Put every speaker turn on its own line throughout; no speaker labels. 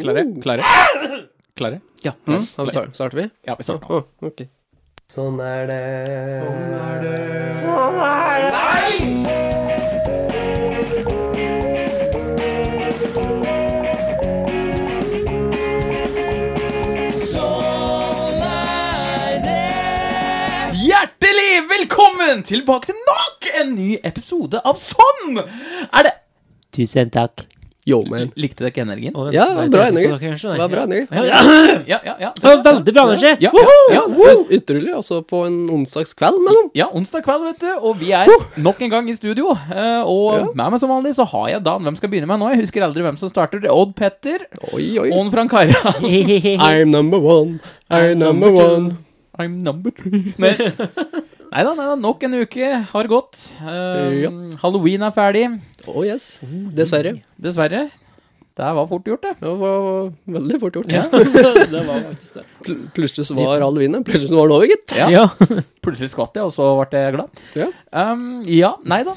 Klare? Klare? Klare?
Ja, da start- starter vi?
Ja, vi starter nå.
Å, ok.
Sånn er det. Sånn Sånn
Hjertelig velkommen tilbake til nok en ny episode av Sånn! Er det
Tusen takk.
Yo, man.
Likte dere energien?
Og vent,
Ja,
var det
bra
det som
energi.
skulle dere kanskje,
Det
nei?
var bra energi.
Ja, ja, ja. ja, ja.
Det var veldig bra energi!
Ja, ja,
Woho!
ja,
Men Utrolig, også på en onsdagskveld mellom.
ja, onsdag kveld, vet du. Og vi er nok en gang i studio. Eh, Og
Ja.
med meg som vanlig så har jeg Dan. Hvem skal begynne med nå? Jeg husker aldri hvem som starter. Det er Odd Petter
Oi, oi.
og en Frank Harald.
I'm number one. I'm number one.
I'm number three. Nei da, nok en uke har gått. Eh,
Ja.
Halloween er ferdig.
Oh, yes. Dessverre.
Dessverre. Det var fort gjort, det.
Det var veldig fort gjort.
Ja.
det var faktisk det.
Pl- Plutselig så var all vinden. Plutselig så var den over, gitt.
Ja.
Ja.
Plutselig skvatt jeg, og så ble jeg glad.
Ja.
Um, ja, nei da.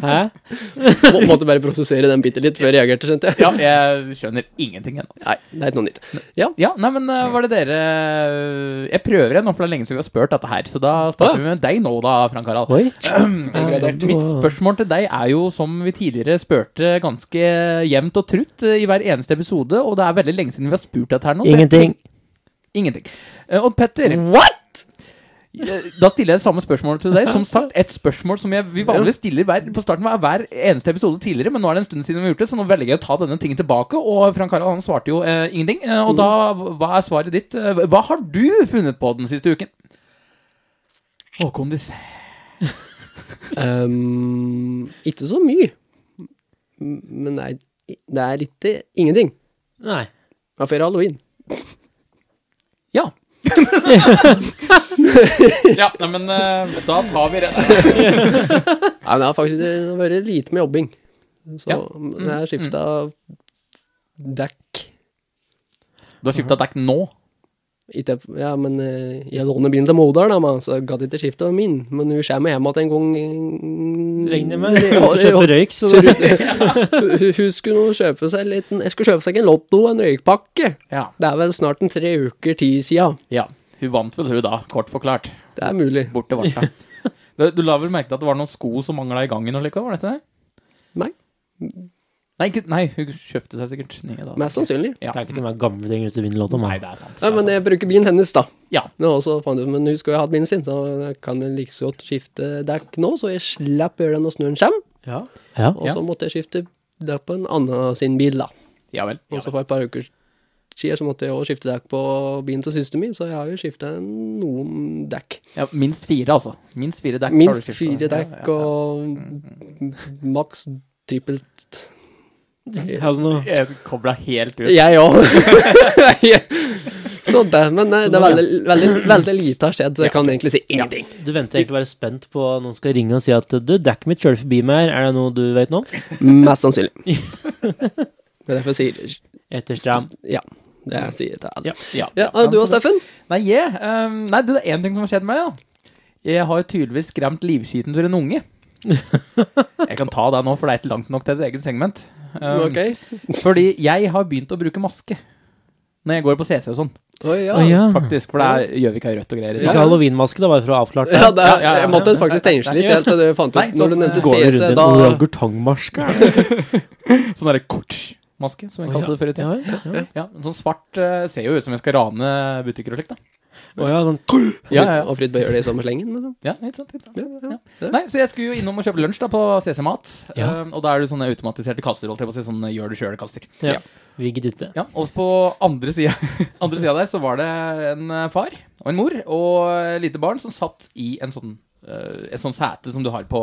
Hæ?
Må, måtte bare prosessere den bitte litt før jeg reagerte, skjønte jeg.
Ja, jeg skjønner ingenting ennå.
Nei, det er ikke noe nytt.
Ja, nei, men eh, var det dere eh, Jeg prøver igjen nå, for det er lenge siden vi har spurt dette her. Så da
Ja.
starter vi med deg nå, da, Frank Harald.
Oi.
Degradert.
Mitt spørsmål til deg er jo, som vi tidligere spurte, ganske jevnt og trutt eh, i hver eneste episode, og det er veldig lenge siden vi har spurt dette her nå. så jeg
Ingenting.
Ingenting. Eh, Odd Petter. What?! Da stiller jeg det samme spørsmålet til deg. Som sagt, et spørsmål som jeg, vi vanligvis stiller hver, på starten av hver eneste episode tidligere, men nå er det en stund siden vi har gjort det, så nå velger jeg å ta denne tingen tilbake. Og Frank Harald han svarte jo eh, ingenting. Eh, og da, hva er svaret ditt? Eh, Hva har du funnet på den siste uken? Å, kondis.
Ehm, ikke så mye. M- Men det er, det er ikke ingenting.
Nei.
Det var før halloween.
Ja. ja, nei, men eh, da tar vi det.
Nei, men det har faktisk det har vært lite med jobbing. Så
Ja. Mm,
det er skifta dekk.
Du har skifta dekk nå?
Ikke, ja, men eh, jeg låner bilen til moderen, da, men så gadd ikke skifte min. Men hun kommer hjem igjen en gang
Regner med. Skal ikke kjøpe røyk, så
Så hun- hun- hun skulle nå kjøpe seg litt Jeg skulle kjøpe seg en Lotto, en røykpakke.
Ja.
Det er vel snart en tre uker tid siden.
ja. Hun vant vel, hun da, kort forklart.
Det er mulig.
Bort til Varta. Du, du la vel merke til at det var noen sko som mangla i gangen og likevel, var det ikke det?
Nei.
Nei, ikke, nei, hun kjøpte seg sikkert nye da.
Mest sannsynlig.
Ja.
Det er ikke de her gamle tingene som vinner låta.
Nei, det er sant.
Nei, sånn. men jeg bruker bilen hennes, da.
Ja.
Nå også, fant jeg ut, men hun skulle jo ha hatt bilen sin, så jeg kan like så godt skifte dekk nå, så jeg slipper å gjøre det når snøen kommer.
Ja,
Ja.
Og så måtte jeg skifte dekk på en annen sin bil, da.
ja vel.
Og så for et par uker siden så måtte jeg også skifte dekk på bilen til søsteren min, så jeg har jo skifta noen dekk.
Ja, minst fire, altså. Minst fire dekk. har du
Minst
skiftet.
fire
Ja,
dekk
ja, ja.
og maks trippelt
Hell no.
Jeg kobla helt ut.
Jeg òg. så det, men eh, det er veldig, veldig, veldig lite har skjedd, så jeg kan egentlig si ingenting.
Du venter egentlig å være spent på at noen skal ringe og si at du, dekket mitt kjører forbi meg her, er det noe du vet nå?
Mest sannsynlig. Det er derfor jeg sier
Etterstram.
Ja. Det jeg sier til alle.
Ja.
Ja.
Ja, og du og Steffen?
Nei, jeg, ehm, nei, det er én ting som har skjedd meg, da. Jeg har tydeligvis skremt livskiten for en unge. Jeg kan ta deg nå, for det er ikke langt nok til et eget segment. Ehm,
Ok.
Fordi jeg har begynt å bruke maske når jeg går på CC og sånn.
Å ja.
Å ja.
Faktisk, for det er Gjøvik har rødt og greier.
Ja.
Ikke halloweenmaske, da, bare for å avklare
Ja, det,
Ja, ja, ja.
jeg måtte faktisk tenke litt helt til du fant ut
Nei,
Når du
sånn,
nevnte
eh,
Går du
CS,
rundt i
da
en orangutangmaske?
Sånn derre kortsmaske, som vi kalte det før i tida.
Ja, ja, ja.
Ja, sånn svart eh, ser jo ut som jeg skal rane butikker og slikt, da.
Å ja, sånn
Ja, ja, ja.
Og Fryd bare gjør det i samme slengen. Liksom.
Ja, ikke sant, ikke sant.
Ja, ja.
Ja. Nei, så jeg skulle jo innom og kjøpe lunsj da på CC Mat.
Ja.
eh, og da er det jo sånne automatiserte kasser, holdt jeg på å si. Sånn gjør det sjøl-kasser.
ja. Vigget ikke.
Ja, og på andre sida, andre sida der så var det en eh, far og en mor og et lite barn som satt i en sånn eh, et sånt sete som du har på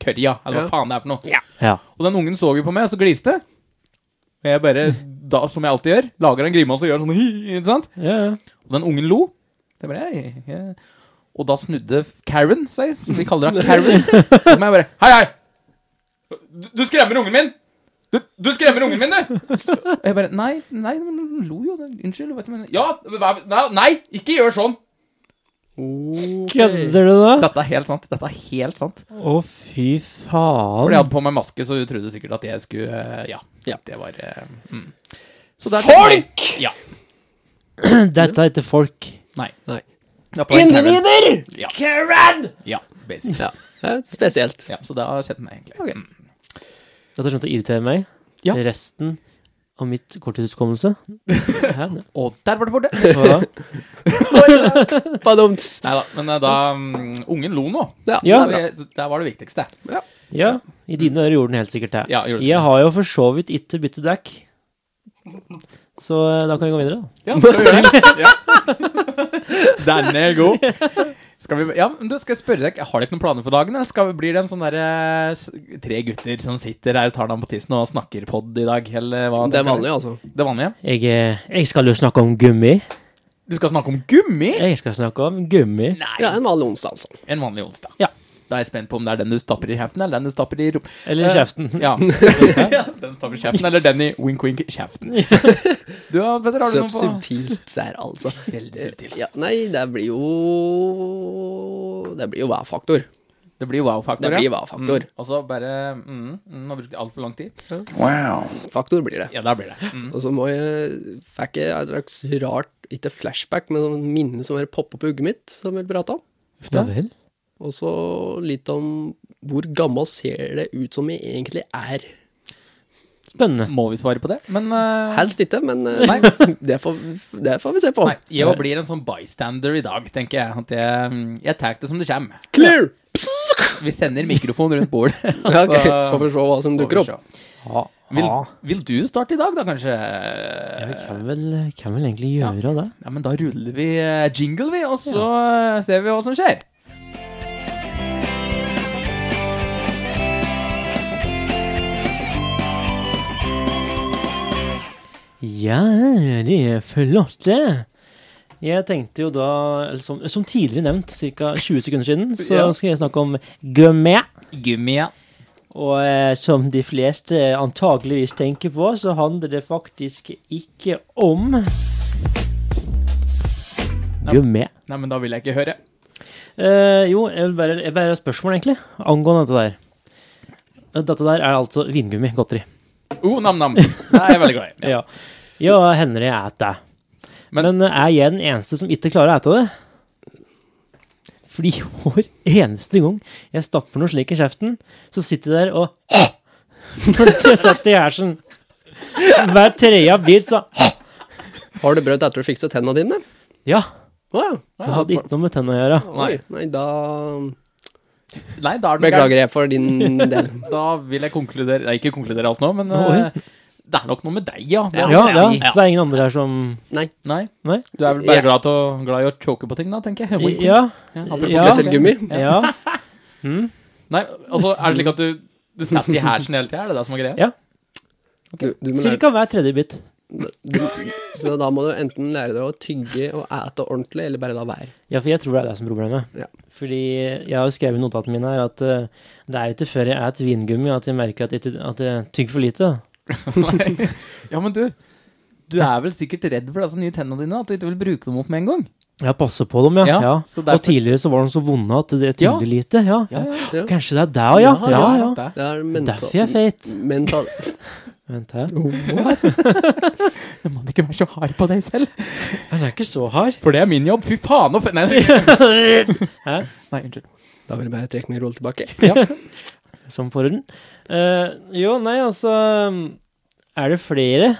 kørja, eller
Ja.
hva faen det er for noe.
Ja.
Og den ungen så jo på meg, og så gliste. Og jeg bare, da, som jeg alltid gjør, lager en grimas og gjør sånn hi, ikke sant?
Ja, ja.
Og den ungen lo. Det bare, «Hei, hei». Og da snudde Karen seg, som vi kaller henne Karen. Så må jeg bare Hei, hei! Du, du skremmer ungen min! Du, du skremmer ungen min, du! Og jeg bare Nei, nei, men hun lo jo. Unnskyld. Vet du, men, ja, hva- nei, nei, ikke gjør sånn!
Okay.
Kødder du nå?
Dette er helt sant. Dette er helt sant.
Å, fy
Fordi jeg
faen.
hadde på meg maske, så hun trodde sikkert at jeg skulle eh, Ja.
Ja.
Det var eh, mm.
Så der-
Folk! Ja.
Dette er ikke folk.
Nei.
Nei.
Det var en Karen. Ja.
Karen!
ja. Basic.
Ja. Det er spesielt.
Ja, så det har skjedd meg, egentlig.
Ok.
Mm.
Dette er sånt som irriterer meg.
Ja.
Resten av mitt korttidshukommelse. Hæ?
Og der var det borte!
Hva?
Badums.
Nei da. Men eh, da mm, Ungen lo nå.
Ja. det
Ja.
er bra.
Det, det var det viktigste.
Ja, i dine ører gjorde den helt sikkert det.
Ja, gjorde det.
jeg har jo for så vidt ikke byttet dekk. Så eh, da kan vi gå videre, da.
Ja, skal vi gjøre det? Ja. Den er god. Skal vi, ja, men du, skal jeg spørre deg, Har dere noen planer for dagen? Eller skal vi, blir det en sånn derre tre gutter som sitter her og tar dem på tissen og snakker pod i dag? Eller hva
Det er vanlig, altså.
Det er vanlig, ja.
Jeg, eh, jeg skal jo snakke om gummi.
Du skal snakke om gummi?
Jeg skal snakke om gummi.
Nei.
Ja, en vanlig onsdag, altså.
En vanlig onsdag.
Ja.
Da er jeg spent på om det er den du stapper i kjeften, eller den du stapper i rumpa.
Eller kjeften.
Ja. Ja, den stapper i kjeften, eller den i wink-wink-kjeften. Du, ja, Petter, har du noe på
Subtilt der, altså.
Veldig subtilt.
Ja, nei, det blir jo Det blir jo hva-faktor.
Det blir wow-faktor,
Det blir wow-faktor.
Mm. Og så bare mm, mm, Nå brukte jeg altfor lang tid.
Faktor blir det.
Ja, da blir det. Mm.
Og så må jeg fikk jeg et slags rart, ikke flashback, men sånn minne som bare popper opp i hodet mitt, som vi prata om.
Ja vel.
Og så litt om hvor gammel ser det ut som jeg egentlig er.
Spennende.
Må vi svare på det? Men eh,
Helst ikke, men eh, det, får, det får vi se på.
Nei, jeg blir en sånn bystander i dag, tenker jeg. At jeg, mm, jeg tar det som det kommer.
Clear!
Vi sender mikrofonen rundt bordet.
Ja, ok,
altså,
Får vi se hva
får
som
vi
dukker opp.
se.
Ja.
Vil,
ja.
vil du starte i dag, da, kanskje?
Vi kan vel, kan vel egentlig gjøre det.
Ja, men da ruller vi eh, jingle, vi, og så eh, ser vi hva som skjer.
Ja, de er flotte. Jeg tenkte jo da, eller som, som tidligere nevnt, ca. 20 sekunder siden, så
Ja.
skal jeg snakke om gummi.
Gummi, ja.
Og eh, som de fleste antageligvis tenker på, så handler det faktisk ikke om Gummi.
Nei, men da vil jeg ikke høre.
Eh, jo, jeg vil bare, jeg vil bare ha et spørsmål, egentlig, angående dette der. Dette der er altså vingummi, godteri.
Oh, nam-nam. Det er jeg veldig glad i.
Ja, ja hender det jeg et det. Men, eh, er jeg den eneste som ikke klarer å ete det? Fordi hver eneste gang jeg stapper noe slik i kjeften, så sitter jeg der og Når jeg setter i hersen. Hver tredje bit, så
Har du brød etter å fikse tenna dine?
Ja,
Å ja.
det hadde ikke noe med tennene å gjøre.
Oi, nei, da
Nei, da er det gærent.
beklager jeg for din del.
Da vil jeg konkludere Nei, ikke konkludere alt nå, men
Oi.
eh, det er nok noe med deg, ja. Det
Ja,
er
ja,
nok deg.
Så det er ingen andre her som
Nei.
Nei.
Nei?
Du er vel bare
Ja.
glad, til å, glad i å choke på ting, da, tenker jeg. Wink, wink.
Ja.
apropos
Ja.
Spesielt gummi.
ja.
Nei, altså, er det slik at du, du setter i hersen hele tida? Er det det som er greia?
Ja.
Du, du må lære,
Cirka hver tredje bit.
du, så da må du enten lære deg å tygge og ete ordentlig, eller bare la være.
Ja, for jeg tror det er det som er problemet.
Ja.
Fordi jeg har jo skrevet i notatene mine her at eh, det er jo ikke før jeg et vingummi at jeg merker at jeg, ty- at jeg tygger for lite.
Nei. ja, men du Du er vel sikkert redd for disse nye tennene dine? At du ikke vil bruke dem opp med en gang?
Jeg passer på dem, ja.
Ja,
ja,
så derfor-
Og tidligere så var de så vonde at jeg
Ja.
tygde lite. Ja.
Ja, ja,
Ja.
Kanskje det er det òg, ja.
Ja,
Ja, ja.
Det er
Det er
Derfor jeg
mental...
er feit.
mental
Vent her.
det. Du må ikke være så hard på deg selv.
Han er ikke så hard.
For det er min jobb. Fy faen og f... Nei, nei,
Hæ?
nei, unnskyld.
da vil jeg bare trekke min rolle tilbake.
Som forhuden. Eh, jo, nei, altså Er det flere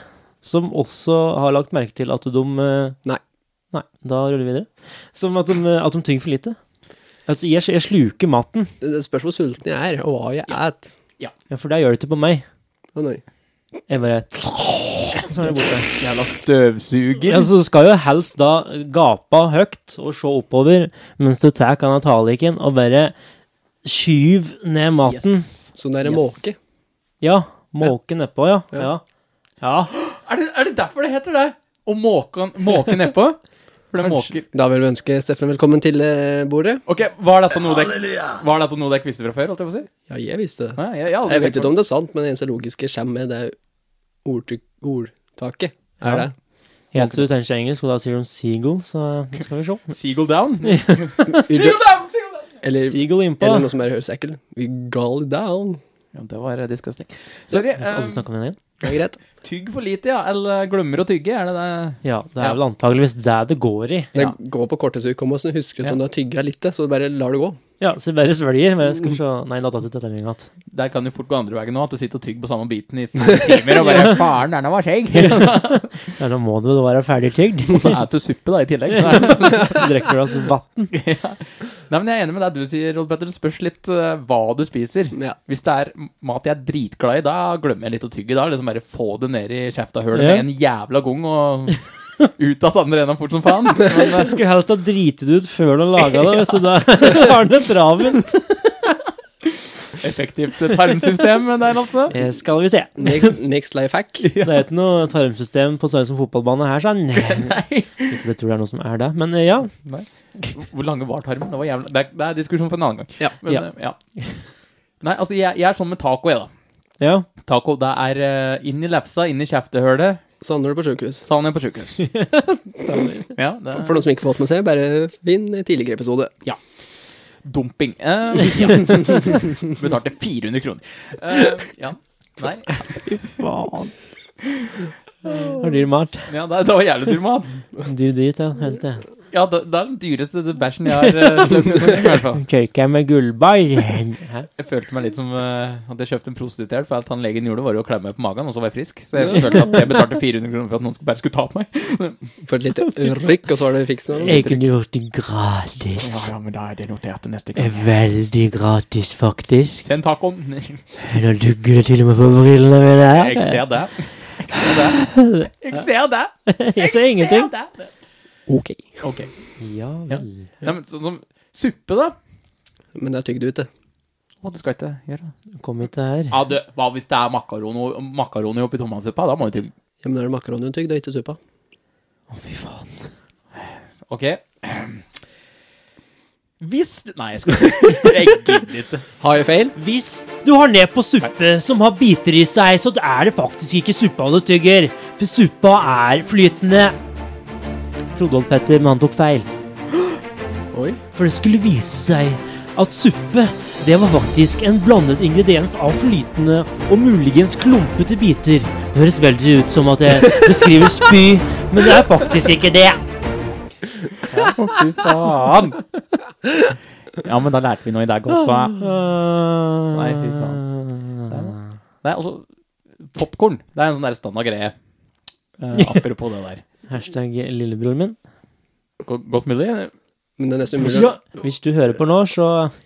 som også har lagt merke til at de eh,
Nei.
Nei, da ruller vi videre. Som at de, at de tygger for lite. Altså, jeg, jeg sluker maten,
Det spørs hvor sulten jeg er, og hva jeg et.
ja, for det gjør det ikke på meg.
Å nei.
Jeg bare Så er det borte.
Jævla støvsuger.
Ja, så skal jo helst da gape høyt og se oppover mens du tar denne taliken og bare skyv ned maten.
Yes.
Så det er en
Yes.
måke.
Ja. Måke nedpå, ja. ja. Ja.
Er, det, er det derfor det heter det? Å måke, måke nedpå? For det måker
Da vil vi ønske Steffen velkommen til eh, bordet.
Ok, Var dette noe dere Var dette noe dere visste fra før? holdt jeg på å si?
Ja, jeg visste det.
Nei, jeg, jeg, har aldri
Jeg vet
tenkt
ikke
på
om det er sant, men det eneste logiske kommer med det ordtykk- ordtaket.
Ja.
Er det?
Helt ut kanskje engelsk, og da sier de Seagull, så nå skal vi se.
Seagull down.
Eller,
down! Seagull down!
Seagull innpå.
eller noe som bare høres ekkelt We gall it down.
Ja, det var eh, disgusting. Sorry.
Jeg skal aldri
eh,
snakke om den igjen.
Det er greit.
tygg for lite, ja. Eller eh, glemmer å tygge, er det det?
Ja, det
Ja.
er vel antageligvis det det går i.
Det
Ja.
går på korttidshukommelsen. Husker at om du har tygga litt, så bare lar det gå.
Ja, så bare svelger. Men jeg skal se. Nei, da tatt ut dette igjen.
Der kan jo fort gå andre veien nå, at du sitter og tygger på samme biten i fem timer og bare Faren, den var skjegg! Og
Ja, da må du være ferdig tygd.
så spiser du suppe, da, i tillegg. Så er det-
Drikker glass vann.
Nei, men Jeg er enig med deg du sier, Rolf Petter. Det spørs litt eh, hva du spiser.
Ja.
Hvis det er mat jeg er dritglad i, da glemmer jeg litt å tygge. Da liksom bare få det ned i kjeftahølet
Ja.
med en jævla gong og ut av andre enden fort som faen. Men, eh,
Jeg skulle helst ha driti det ut før du har laga det, vet du. Da har du det travelt.
effektivt tarmsystem der, altså.
Eh, Skal vi se.
Next, next life hack.
Det er ikke noe tarmsystem på størrelse som fotballbane her, sånn.
Nei.
Ikke det tror jeg er noe som er det, men eh, ja.
Hvor lange var tarmen? Det, var jævla, det, er, det er diskusjon for en annen gang.
Ja.
Men,
Ja.
eh, ja. Nei, altså, jeg, jeg er sånn med taco, jeg, da.
ja.
Taco, det er eh, inn i lefsa, inn i kjeftehølet,
Savner du på sjukehus.
savner jeg på sjukehus. ja, det
For
er
noen som ikke får fått med seg, bare finn en tidligere episode.
dumping. Eh, ja. Betalte 400 kroner. Eh, ja. Nei.
Faen. Det er dyr mat.
Ja, det, det var jævlig dyr mat.
Dyr drit, ja. Helt det.
Ja, det, det er den dyreste bæsjen jeg har eh, løpt i hvert fall.
Kjøker jeg med gullbar. Hæ?
Jeg følte meg litt som eh, at jeg kjøpte en prostituert, for alt han legen gjorde, var jo å klemme meg på magen, og så var jeg frisk. Så jeg følte at jeg betalte 400 kroner for at noen skulle- bare skulle ta på meg.
For et lite rykk, og så har du fiksa
Jeg kunne gjort det gratis.
Mm. ja, men da er det notert til neste
Eh, Veldig gratis, faktisk.
Send tacoen.
Nå dugger det til og med på brillene mine.
Jeg ser det. Jeg ser det. Jeg ser det.
Jeg ser ingenting.
ser det.
Ok.
Ok.
Ja vel.
Nei, men sånn som suppe, da?
Men det er tygd ut, det.
Å, du skal ikke gjøre det.
Kom hit her.
Ja, du, hva hvis det er makaroni makaroni oppi tomatsuppa? Da må du til
Ja, men da er det makaroni og tygd, og ikke suppa.
Å, fy faen.
Ok. Hvis du Nei, jeg skal ikke. Jeg gidder ikke.
Har jeg feil?
Hvis du har ned på suppe som har biter i seg, så er det faktisk ikke suppa du tygger. For suppa er flytende. Trodde Old Petter, men han tok feil.
Oi.
For det skulle vise seg at suppe det var faktisk en blandet ingrediens av flytende og muligens klumpete biter. Det høres veldig ut som at jeg beskriver spy, men det er faktisk ikke det.
Fy faen. Ja, men da lærte vi noe i dag også.
Ah. Nei,
fy
faen.
Nei, altså Popkorn. Det er en sånn der standard greie. Eh, apropos det der.
Hashtag lillebroren min.
Go- Godt mulig?
Men det er nesten umulig.
Ja, hvis du hører på nå, så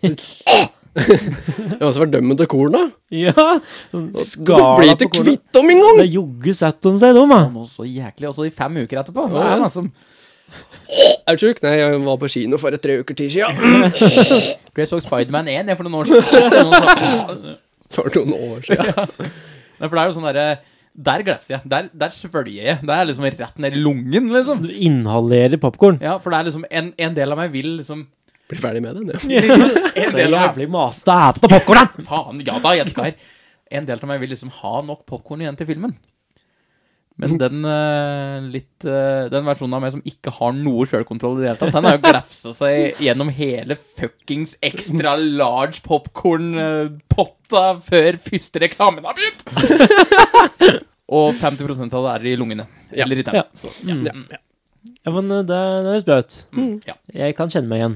Jeg har også vært dømmet til korna.
Ja!
Du blir ikke kvitt dem
Det
engang!
er jogge satt om seg, de, da.
Nå så jæklig, og så i fem uker etterpå. Nå
Ja,
er
ja.
det altså,
Er du sjuk? Nei, jeg var på kino for et tre uker tid siden.
For jeg så Spiderman 1 jeg, for noen år siden. Og så-
Så var det noen år siden.
Nei, for det er jo sånn derre Der glefser jeg. Der, der svølger jeg. Det er liksom rett ned i lungen, liksom.
Du inhalerer popkorn.
Ja, for det er liksom En, en del av meg vil liksom
Blir ferdig med det. det.
En
Så
del av
jævlig maste her på popkornet!
Faen, ja da, jeg skal En del av meg vil liksom ha nok popkorn igjen til filmen. Men den, eh, litt, eh, den versjonen av meg som ikke har noe sjølkontroll i det hele tatt, den har jo glefsa seg gjennom hele fuckings extra large popkornpotta før første reklamen har begynt! Og 50 av det er i lungene.
Ja.
Eller i
Ja.
tennene. Så, ja.
Mm.
Mm,
Ja, men eh, det, det høres bra ut.
mm, ja.
Jeg kan kjenne meg igjen.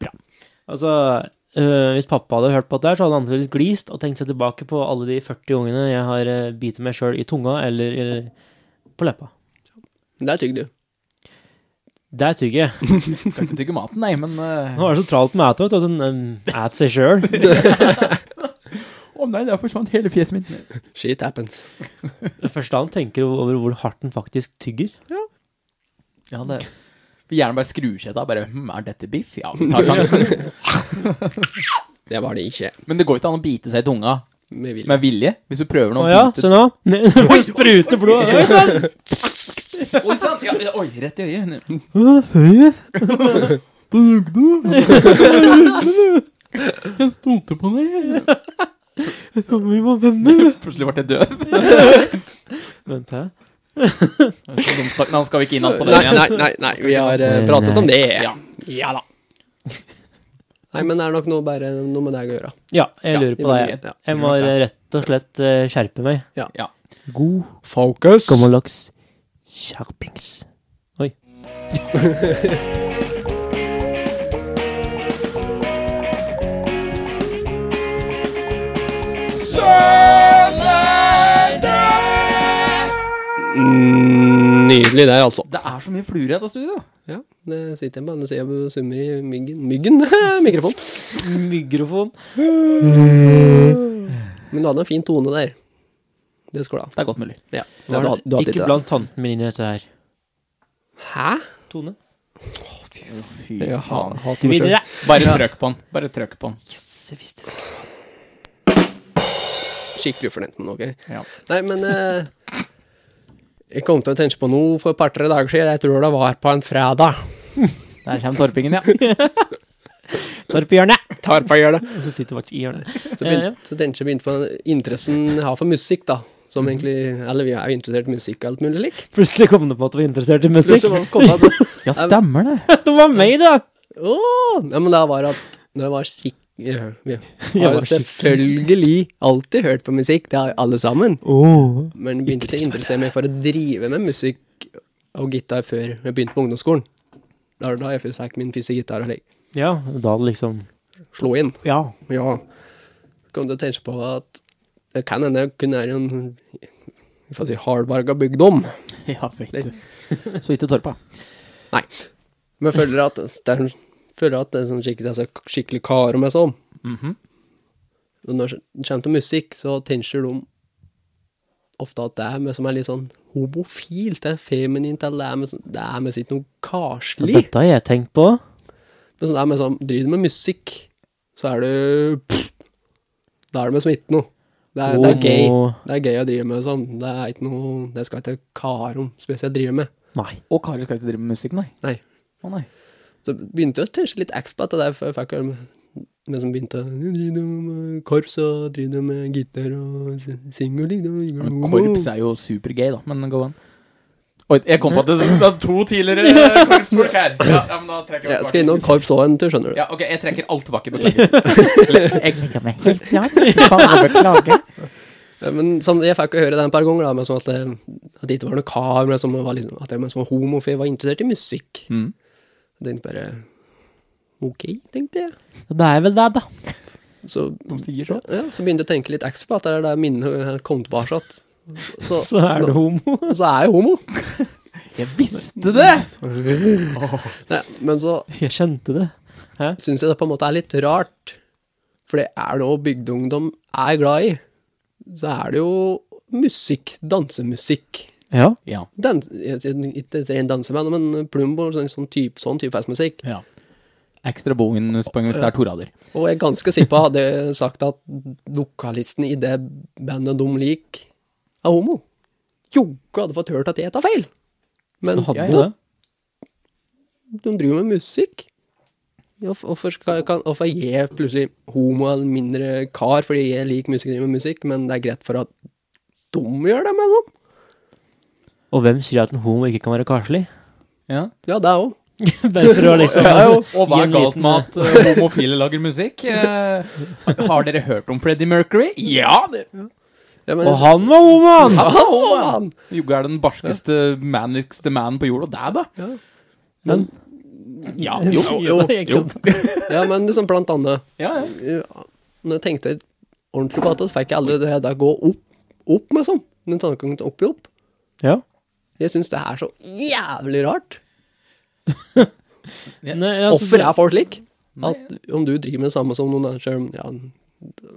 Bra. Altså, øh, hvis pappa hadde hørt på dette, her, så hadde han antakeligvis glist og tenkt seg tilbake på alle de 40 ungene jeg har uh, bitt meg sjøl i tunga eller, eller på leppa.
Det er tygd, du.
Der tygger jeg.
Skal ikke tygge maten, nei, men eh,
Nå er det så tralt med æta, vet du, at en um, æt seg sjøl.
Å nei, der forsvant hele fjeset mitt.
Shit happens.
Det første han tenker over hvor hardt han faktisk tygger.
Ja, det Vil gjerne bare skru seg av. Bare hm, Er dette biff? Ja, vi tar sjansen.
Det var det ikke.
Men det går ikke an å bite seg i tunga
Med vilje.
med vilje. Hvis du prøver
Å
noe
ja, se nå. Det spruter blod. Oi sann!
Oi sann! Ja, ja, oi, rett i øyet.
Tonte på deg. Vi var venner.
Plutselig ble jeg døv.
Vent her.
Dumsnakk, Nå skal vi ikke inn på det
Nei,
igjen.
nei, nei, nei, vi har eh,
Nei.
pratet om det.
Ja.
Ja da. Nei, men det er nok noe, bare noe med deg å gjøre.
Ja, jeg
Ja,
lurer
vi
på
må
deg.
dit, ja.
Jeg må
Tror nok
rett og slett eh, skjerpe meg.
Ja.
Ja.
God
Focus!
gammeldags skjerpings. Oi.
Mm, Nydelig der, altså.
Det er så mye fluer i dette studioet.
Ja, det sitter jeg med. Nå ser jeg summer i myggen. Myggen? Mikrofon.
Mikrofon.
Men du hadde en fin tone der. Det skulle du ha.
Det er godt mulig.
Ja. Ja, du hadde- du hadde litt
Ikke
der.
blant tanten min inn i dette her.
Hæ?
Tone.
Fy
Jeg ha-
faen.
hater meg selv.
Videre.
Bare trøkk på den. Bare trøkk på den.
Yes, jeg visste det.
Skikkelig ufornøyd med noe.
Ja.
Nei, men eh, Jeg kom til å tenke på noe for et par-tre dager siden. Jeg tror det var på en fredag.
Der kommer torpingen, ja.
Torp i hjørnet.
Tar på å gjøre det.
Så sitter faktisk i hjørnet.
Så,
Ja, ja.
begynte, så tenkte jeg begynte på den interessen jeg har for musikk, da. Som
Mhm.
egentlig Eller vi er jo interessert i musikk og alt mulig lik.
Plutselig kom det på at du var interessert i musikk.
Så kom jeg på-
Ja, stemmer det.
Det var meg, da!
Åh, Nei, men det var at når jeg var skikk... Ja, vi
Jeg
har
var
jo selvfølgelig alltid hørt på musikk, det har jo alle sammen.
Oh.
Men begynte å interessere meg for å drive med musikk og gitar før jeg begynte på ungdomsskolen. Da var det da jeg først fikk min første gitar og slik.
Ja, da liksom
Slå inn.
Ja.
Ja. Kom til å tenke på at det kan hende jeg kun er i en vi får si hardbarga bygdom.
Ja, vet du. Så ikke torpa.
Men jeg føler at det er, føler at det er sånn skikkelig, altså, skikkelig kar om jeg sånn.
Mhm.
Og når det kommer til musikk, så tenker de ofte at det er med som er litt sånn homofilt, det er feminint, eller det er med, sånn- det er med sitt noe karslig.
Dette har jeg tenkt på.
Men sånn det er med sånn, driver du med musikk, så er du pff, Da er det med som ikke noe. Det er, det er gay.
Homo-
Det er gøy å drive med sånn. Det er ikke noe Det skal ikke kar om spesielt drive med.
Nei.
Og Kari skal ikke drive med musikk, nei.
Nei.
Å nei.
Så begynte jeg å tenke litt ekstra på det der, for jeg fikk jo men som begynte å drive du med korps og drive du med gitar og singel
Men korps er jo supergay, da. Men go on. Oi, jeg kom på at det det er to tidligere eh, korpsfolk her. Ja, ja, men da trekker
Jeg
tilbake.
skal innom korps òg en tur, skjønner du.
Ja, ok, jeg trekker alt tilbake. Beklager. Jeg legger meg helt flat. Bare beklager.
Ja, Men som, jeg fikk jo høre det en par ganger, da, men sånn at, det, at det ikke var noe kar, men som var liksom, at jeg men som var homofil, var interessert i musikk.
Mm.
Jeg tenkte bare Ok, tenkte jeg.
Det er vel det, da.
Så,
De sier så.
ja, så begynte jeg å tenke litt ekstra på at det er der minnet kom tilbake igjen. Så,
Så er du homo.
så er jeg homo.
Jeg visste det!
Nei, men så
Jeg kjente det.
syns jeg det på en måte er litt rart, for det er noe bygdeungdom er glad i. Så er det jo musikk, dansemusikk.
Ja.
Ja.
Dans, jeg sier ikke ren danseband, men Plumbo, sånn, sånn type, sånn type festmusikk.
ja. Ekstra bonuspoeng hvis det er to rader.
Og jeg er ganske sikker på hadde jeg sagt at vokalisten i det bandet de liker, er homo. Jogge hadde fått hørt at jeg tar feil. Men
Du hadde
jeg-
det.
de driver med musikk. Ja, f- Hvorfor skal kan, hvorfor er jeg plutselig homo eller mindre kar fordi jeg liker musikk og driver med musikk, men det er greit for at de gjør det, men sånn?
Og hvem sier at en homo ikke kan være karslig?
Ja.
Ja, det òg.
Bare for å liksom
Ja, jo.
Og hva er
gi en
galt
liten-
med at eh, homofile lager musikk? Eh, har dere hørt om Freddie Mercury? Ja! det
Ja, men,
Og han var homo, han!
Ja, homo,
Jogge er den barskeste, manligste mannen på jorda. Det, da?
han.
Men Ja, jo.
Jo,
Det er
jo.
kødd.
Ja. ja, men liksom blant annet
Ja, ja.
ja, Når jeg tenkte ordentlig på det, så fikk jeg aldri det der gå opp, opp med sånn. Den tanken opp i opp.
Ja.
Jeg syns det er så jævlig rart.
Nei, altså,
Hvorfor er folk slik?
Nei,
At om du driver med det samme som noen andre selv, ja,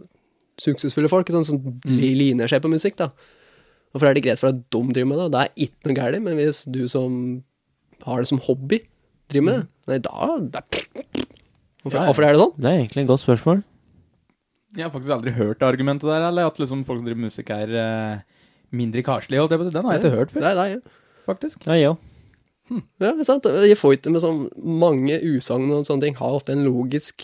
suksessfulle folk, sånn som
Mm.
li- liner seg på musikk, da. Hvorfor er det greit for at de driver med det? Det er ikke noe galt, men hvis du som har det som hobby, driver med det, nei, da da- Hvorfor,
Mm. Ja, ja.
hvorfor er det sånn?
Det er egentlig et godt spørsmål.
Jeg har faktisk aldri hørt det argumentet der, eller at liksom folk som driver med musikk er eh, mindre karslige. holdt jeg på å si. Den har jeg ikke hørt før,
Nei, nei,
faktisk.
Ja, ja.
ja, det er sant. Jeg får ikke med sånn mange usagn og sånne ting, har ofte en logisk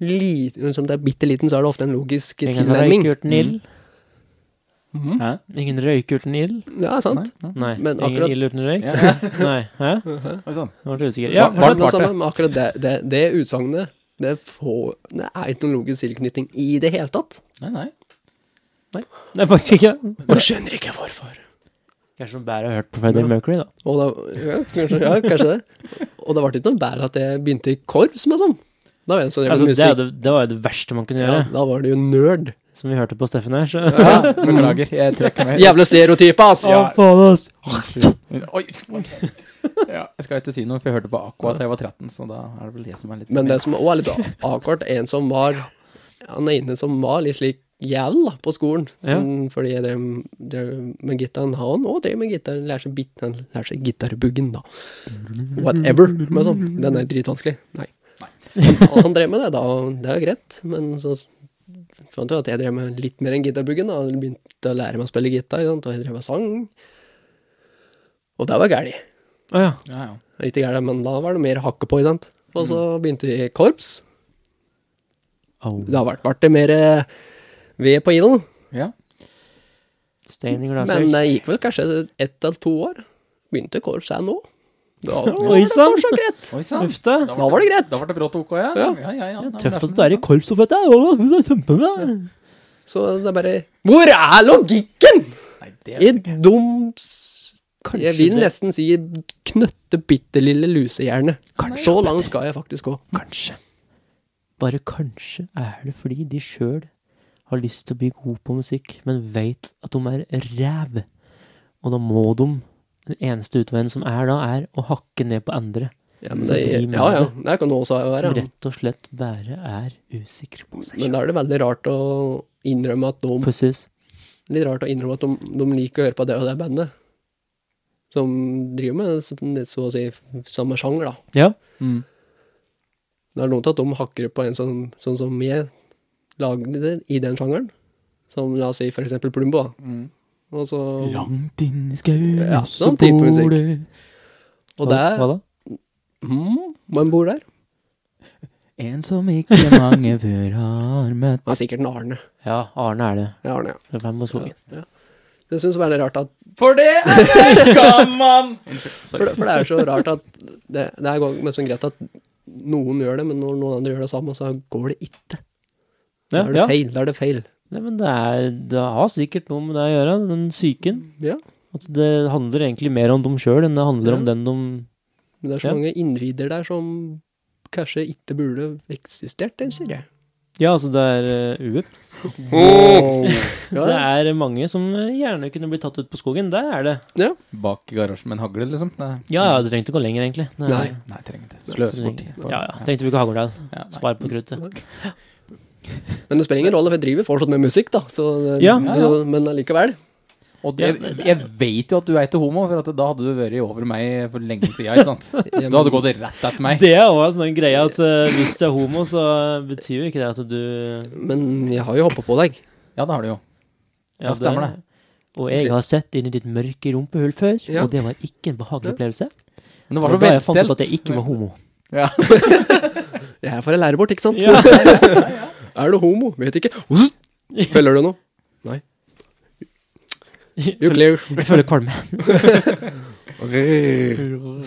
liten, Som det er bitte liten, så er det ofte en logisk
Ingen har
tilnærming.
ikke gjort nill.
Mhm.
Hæ?
Mm. Ingen røyk uten ild?
Ja, sant.
Nei?
Nei.
Men akkurat-
Ingen ild uten røyk?
Ja, ja.
Nei. Hæ?
Oi, sånn.
Nå ble jeg usikker. Ja,
Hva-
Men
Varmt
det,
varte.
samme, men akkurat det, det, det utsagnet det, får, det er ikke noen logisk tilknytning i det hele tatt.
Nei, nei.
det er faktisk ikke det.
Man skjønner ikke hvorfor.
Kanskje noen bærer har hørt på Freddie Mercury, da.
Og da, ja, kanskje, ja, kanskje det. Og det ble ikke noe bedre at jeg begynte i korps, men sånn. Da var jeg en sånn jævla
Altså, det, er
musikk.
det, det var jo det verste man kunne
Ja,
gjøre,
da var det jo nerd.
som vi hørte på Steffen her. Så.
Ja, beklager, jeg trekker meg.
Jævla stereotyp, ass!
Ja.
Å, faen, ass.
Oi. Ja, jeg skal ikke si noe, for jeg hørte på Aqua da jeg var 13, så da er det vel jeg som er litt
Men det som også er litt avkort, en som var Han ene som var litt slik jævel da, på skolen, som, fordi jeg drev, drev med gitaren. Han òg drev med gitar, lærer seg, bit- han lærer seg gitarbuggen, da. Whatever. Men sånn, den er dritvanskelig. Nei. Han, han drev med det, da, og det er greit, men så s- fant jeg at jeg drev med litt mer enn gitarbuggen. da, og Begynte å lære meg å spille gitar, ikke sant, og jeg drev med sang. Og det var gæli.
Å ja.
Ja, ja.
Riktig gæli, men da var det mer hakke på, ikke sant. Og så begynte vi i korps.
Au.
Det har vært, vært det mer eh, ved på ilden,
Ja.
Stein i
men
glassrøyk.
det gikk vel kanskje ett eller to år. Begynte korps her nå. Da var
Oi,
det
sann.
fortsatt greit.
Oi sann.
Uff da.
Da var det greit.
Da ble det brått OK, ja.
Ja.
ja, ja, ja. Nei,
Tøft
men
at du er i korps oppi dette. Å, Det er kjempebra.
Så det er bare Hvor er logikken?!
Nei, det
I dum s-
Kanskje
Jeg vil
det-
nesten si knøtte bitte lille lusehjerne. Så langt skal jeg faktisk gå.
Kanskje. Bare kanskje er det fordi de sjøl har lyst til å bli gode på musikk, men veit at de er ræv. Og da må de Den eneste utveien som er da, er å hakke ned på andre.
Ja, men
Så
det,
driv med
ja, ja, det kan det også
Som
være. ja.
rett og slett bare er usikre på seg
Men
sjøl.
da er det veldig rart å innrømme at de
Pussies.
Litt rart å innrømme at de, de liker å høre på det og det bandet. Som driver med s- litt så å si samme sjanger, da.
Ja.
Mm.
Det er noe til at de hakker på en som, sånn som jeg lagde det i den sjangeren. Som la oss si for eksempel Plumbo, da.
Mm.
Og, så,
Langt inn i skauen
Ja, sånn type musikk. og
Hva-
der
Hva da?
mm, Man bor der.
En som ikke mange før har møtt
Det er sikkert en Arne.
Ja, Arne er det.
Ja, Arne, ja.
Fra Fem og Skogen.
ja. Det syns jeg er litt rart at
For det er Røykamann!
For det, for det er så rart at det, det er godt- men sånn greit at noen gjør det, men når noen andre gjør det samme, så går det ikke. Da
Ja,
er det
ja.
feil. Da er det feil.
Nei, men det, er, det har sikkert noe med det å gjøre, den psyken.
Ja.
At det handler egentlig mer om dem sjøl enn det handler om
Ja.
den de
Men det er så
Ja.
mange individer der som kanskje ikke burde eksistert, det sier jeg.
Ja, altså det er eh, ups.
Ja,
Det er mange som eh, gjerne kunne blitt tatt ut på skogen. Der er det.
Bak i garasjen med en hagle, liksom? Nei,
Ja, ja, du trengte ikke gå lenger, egentlig. Det er-
Nei.
Nei trenger ikke.
så
Sløs bort
lenge-
tid.
Ja, ja. Trengte vi ikke Hagerdal.
Ja, nei.
Spar på kruttet.
Men det spiller ingen rolle, for jeg driver fortsatt med musikk, da. Så,
Ja.
men,
Ja,
men allikevel.
Og det, jeg, jeg vet jo at du er ikke homo, for at da hadde du vært over meg for lenge siden. Ikke sant? Du
Jeg,
hadde gått rett etter meg.
Det er òg en sånn greie at eh, hvis du er homo, så eh, betyr jo ikke det at du
men jeg har jo hoppa på deg.
Ja, det har du jo. Ja, stemmer det.
Og jeg har sett inn i ditt mørke rumpehull før,
Ja.
og det var ikke en behagelig opplevelse.
Men det
Og
var så
da jeg fant ut
velstelt.
at jeg ikke var homo.
Ja.
Jeg er her for å lære bort, ikke sant?
Ja.
er du homo? Vet ikke. Ost! Følger du noe? You
Jeg
clear.
føler kvalme.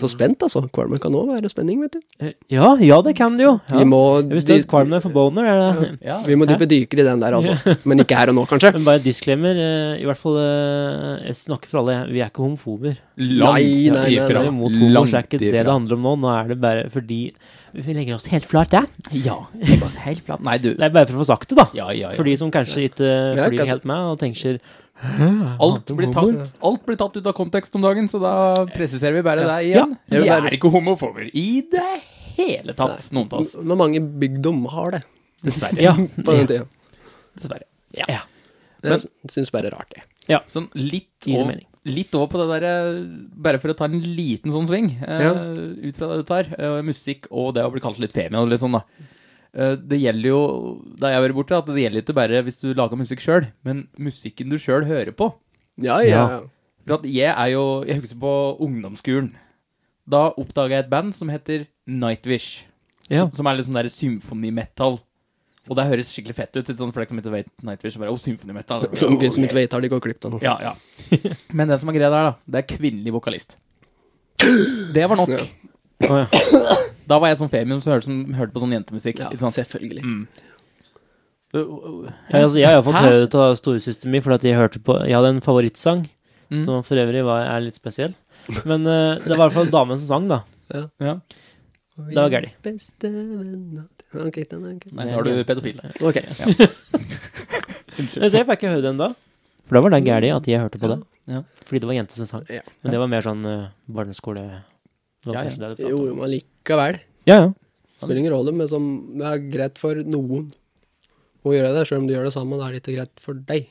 Så spent, altså. Kvalme kan òg være spenning, vet du.
Eh, Ja, ja, det kan det jo. Ja.
Vi må,
Jeg visste
dy-
at kvalm er for boner. Er det?
Ja.
vi må dyppe dyker i den der, altså. Men ikke her og nå, kanskje.
Men bare disclaimer, eh, i hvert fall eh, Jeg snakker for alle, vi er ikke homofober.
Langt
Nei, nei, nei,
ifra.
Vi er Mot homo, så er ikke det det
ifra.
handler om nå. Nå er det bare fordi Vi legger oss helt flat, det.
Ja. Jeg var helt flat. Nei, du.
Det er bare for å få sagt det, da.
Ja, ja, ja.
For de som kanskje ikke eh,
Ja,
flyr
kanskje-
helt med og tenker
Alt blir, tatt, alt blir tatt ut av kontekst om dagen, så da presiserer vi bare det igjen.
Ja.
Vi er ikke homofober i det hele tatt, noen av oss.
Men mange bygdom har det
Dessverre.
Ja.
på den tida.
Dessverre.
ja.
Men-
Jeg syns bare det er rart, det.
Sånn litt
Gir det
over,
mening.
litt over på det derre Bare for å ta en liten sånn sving eh,
Ja.
ut fra det du tar. Eh, musikk og det å bli kalt litt femi og litt sånn, da. Eh, det gjelder jo, da jeg har vært borte, at det gjelder ikke bare hvis du lager musikk sjøl, men musikken du sjøl hører på.
Ja, ja.
Ja.
For at jeg er jo Jeg husker på ungdomsskolen. Da oppdaga jeg et band som heter Nightwish.
Ja.
Som, som er litt sånn der symfonimetall. Og det høres skikkelig fett ut. Litt sånn for deg som ikke vet Nightwish. Bare, oh, symphony metal.
Som de som ikke vet, har de gått glipp av noe.
Ja, ja. Men det som er greia der, da, det er kvinnelig vokalist. Det var nok.
Ja.
Å, ja.
Da var jeg sånn femium som hørte, som hørte på sånn jentemusikk.
Ja,
ikke sant? Uh,
selvfølgelig.
Mm.
Jeg, altså, jeg har fått
Hæ?
høre det av storesøsteren min, fordi at jeg hørte på Jeg hadde en favorittsang,
Mm.
som for øvrig var, er litt spesiell. Men eh, det var i hvert fall damen som sang, da.
Ja.
Det var gærlig.
Beste venn av- Ok, den er ok.
Nei, da har du pedofil. der.
Ok.
Men Så jeg fikk ikke høre den da. For da var det gærlig at jeg hørte på det.
Ja.
Fordi det var jenter som sang.
Ja.
Men det var mer sånn eh, barneskole
Ja, ja.
Det du pratet
Jo,
om.
jo, men likevel.
ja, ja.
Spiller ingen rolle, men som det er greit for noen å gjøre det. Selv om du gjør det samme, da er det ikke greit for deg.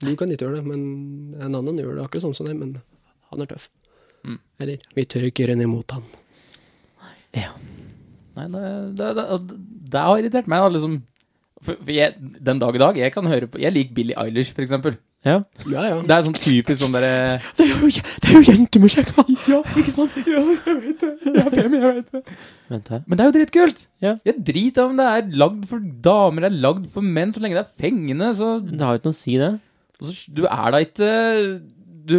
Du kan ikke gjøre det, men en annen gjør det akkurat sånn som deg, men han er tøff.
Mm.
Eller vi tør ikke gjøre noe imot han.
Nei, det, det, det, det har irritert meg. Da, liksom. For, for jeg, den dag i dag, jeg kan høre på Jeg liker Billie Eilish, for eksempel.
ja.
Ja, ja.
Det er sånn typisk sånn derre
Det er jo, det er jo jentemusikk!
Ja, ikke sant? Ja, jeg vet det. Jeg er femi, jeg vet det.
Vent her.
Men det er jo dritkult.
Ja.
Jeg driter om det er lagd for damer, det er lagd for menn, så lenge det er fengende. Så,
Det har jo ikke noe å si, det.
og så du er da ikke du,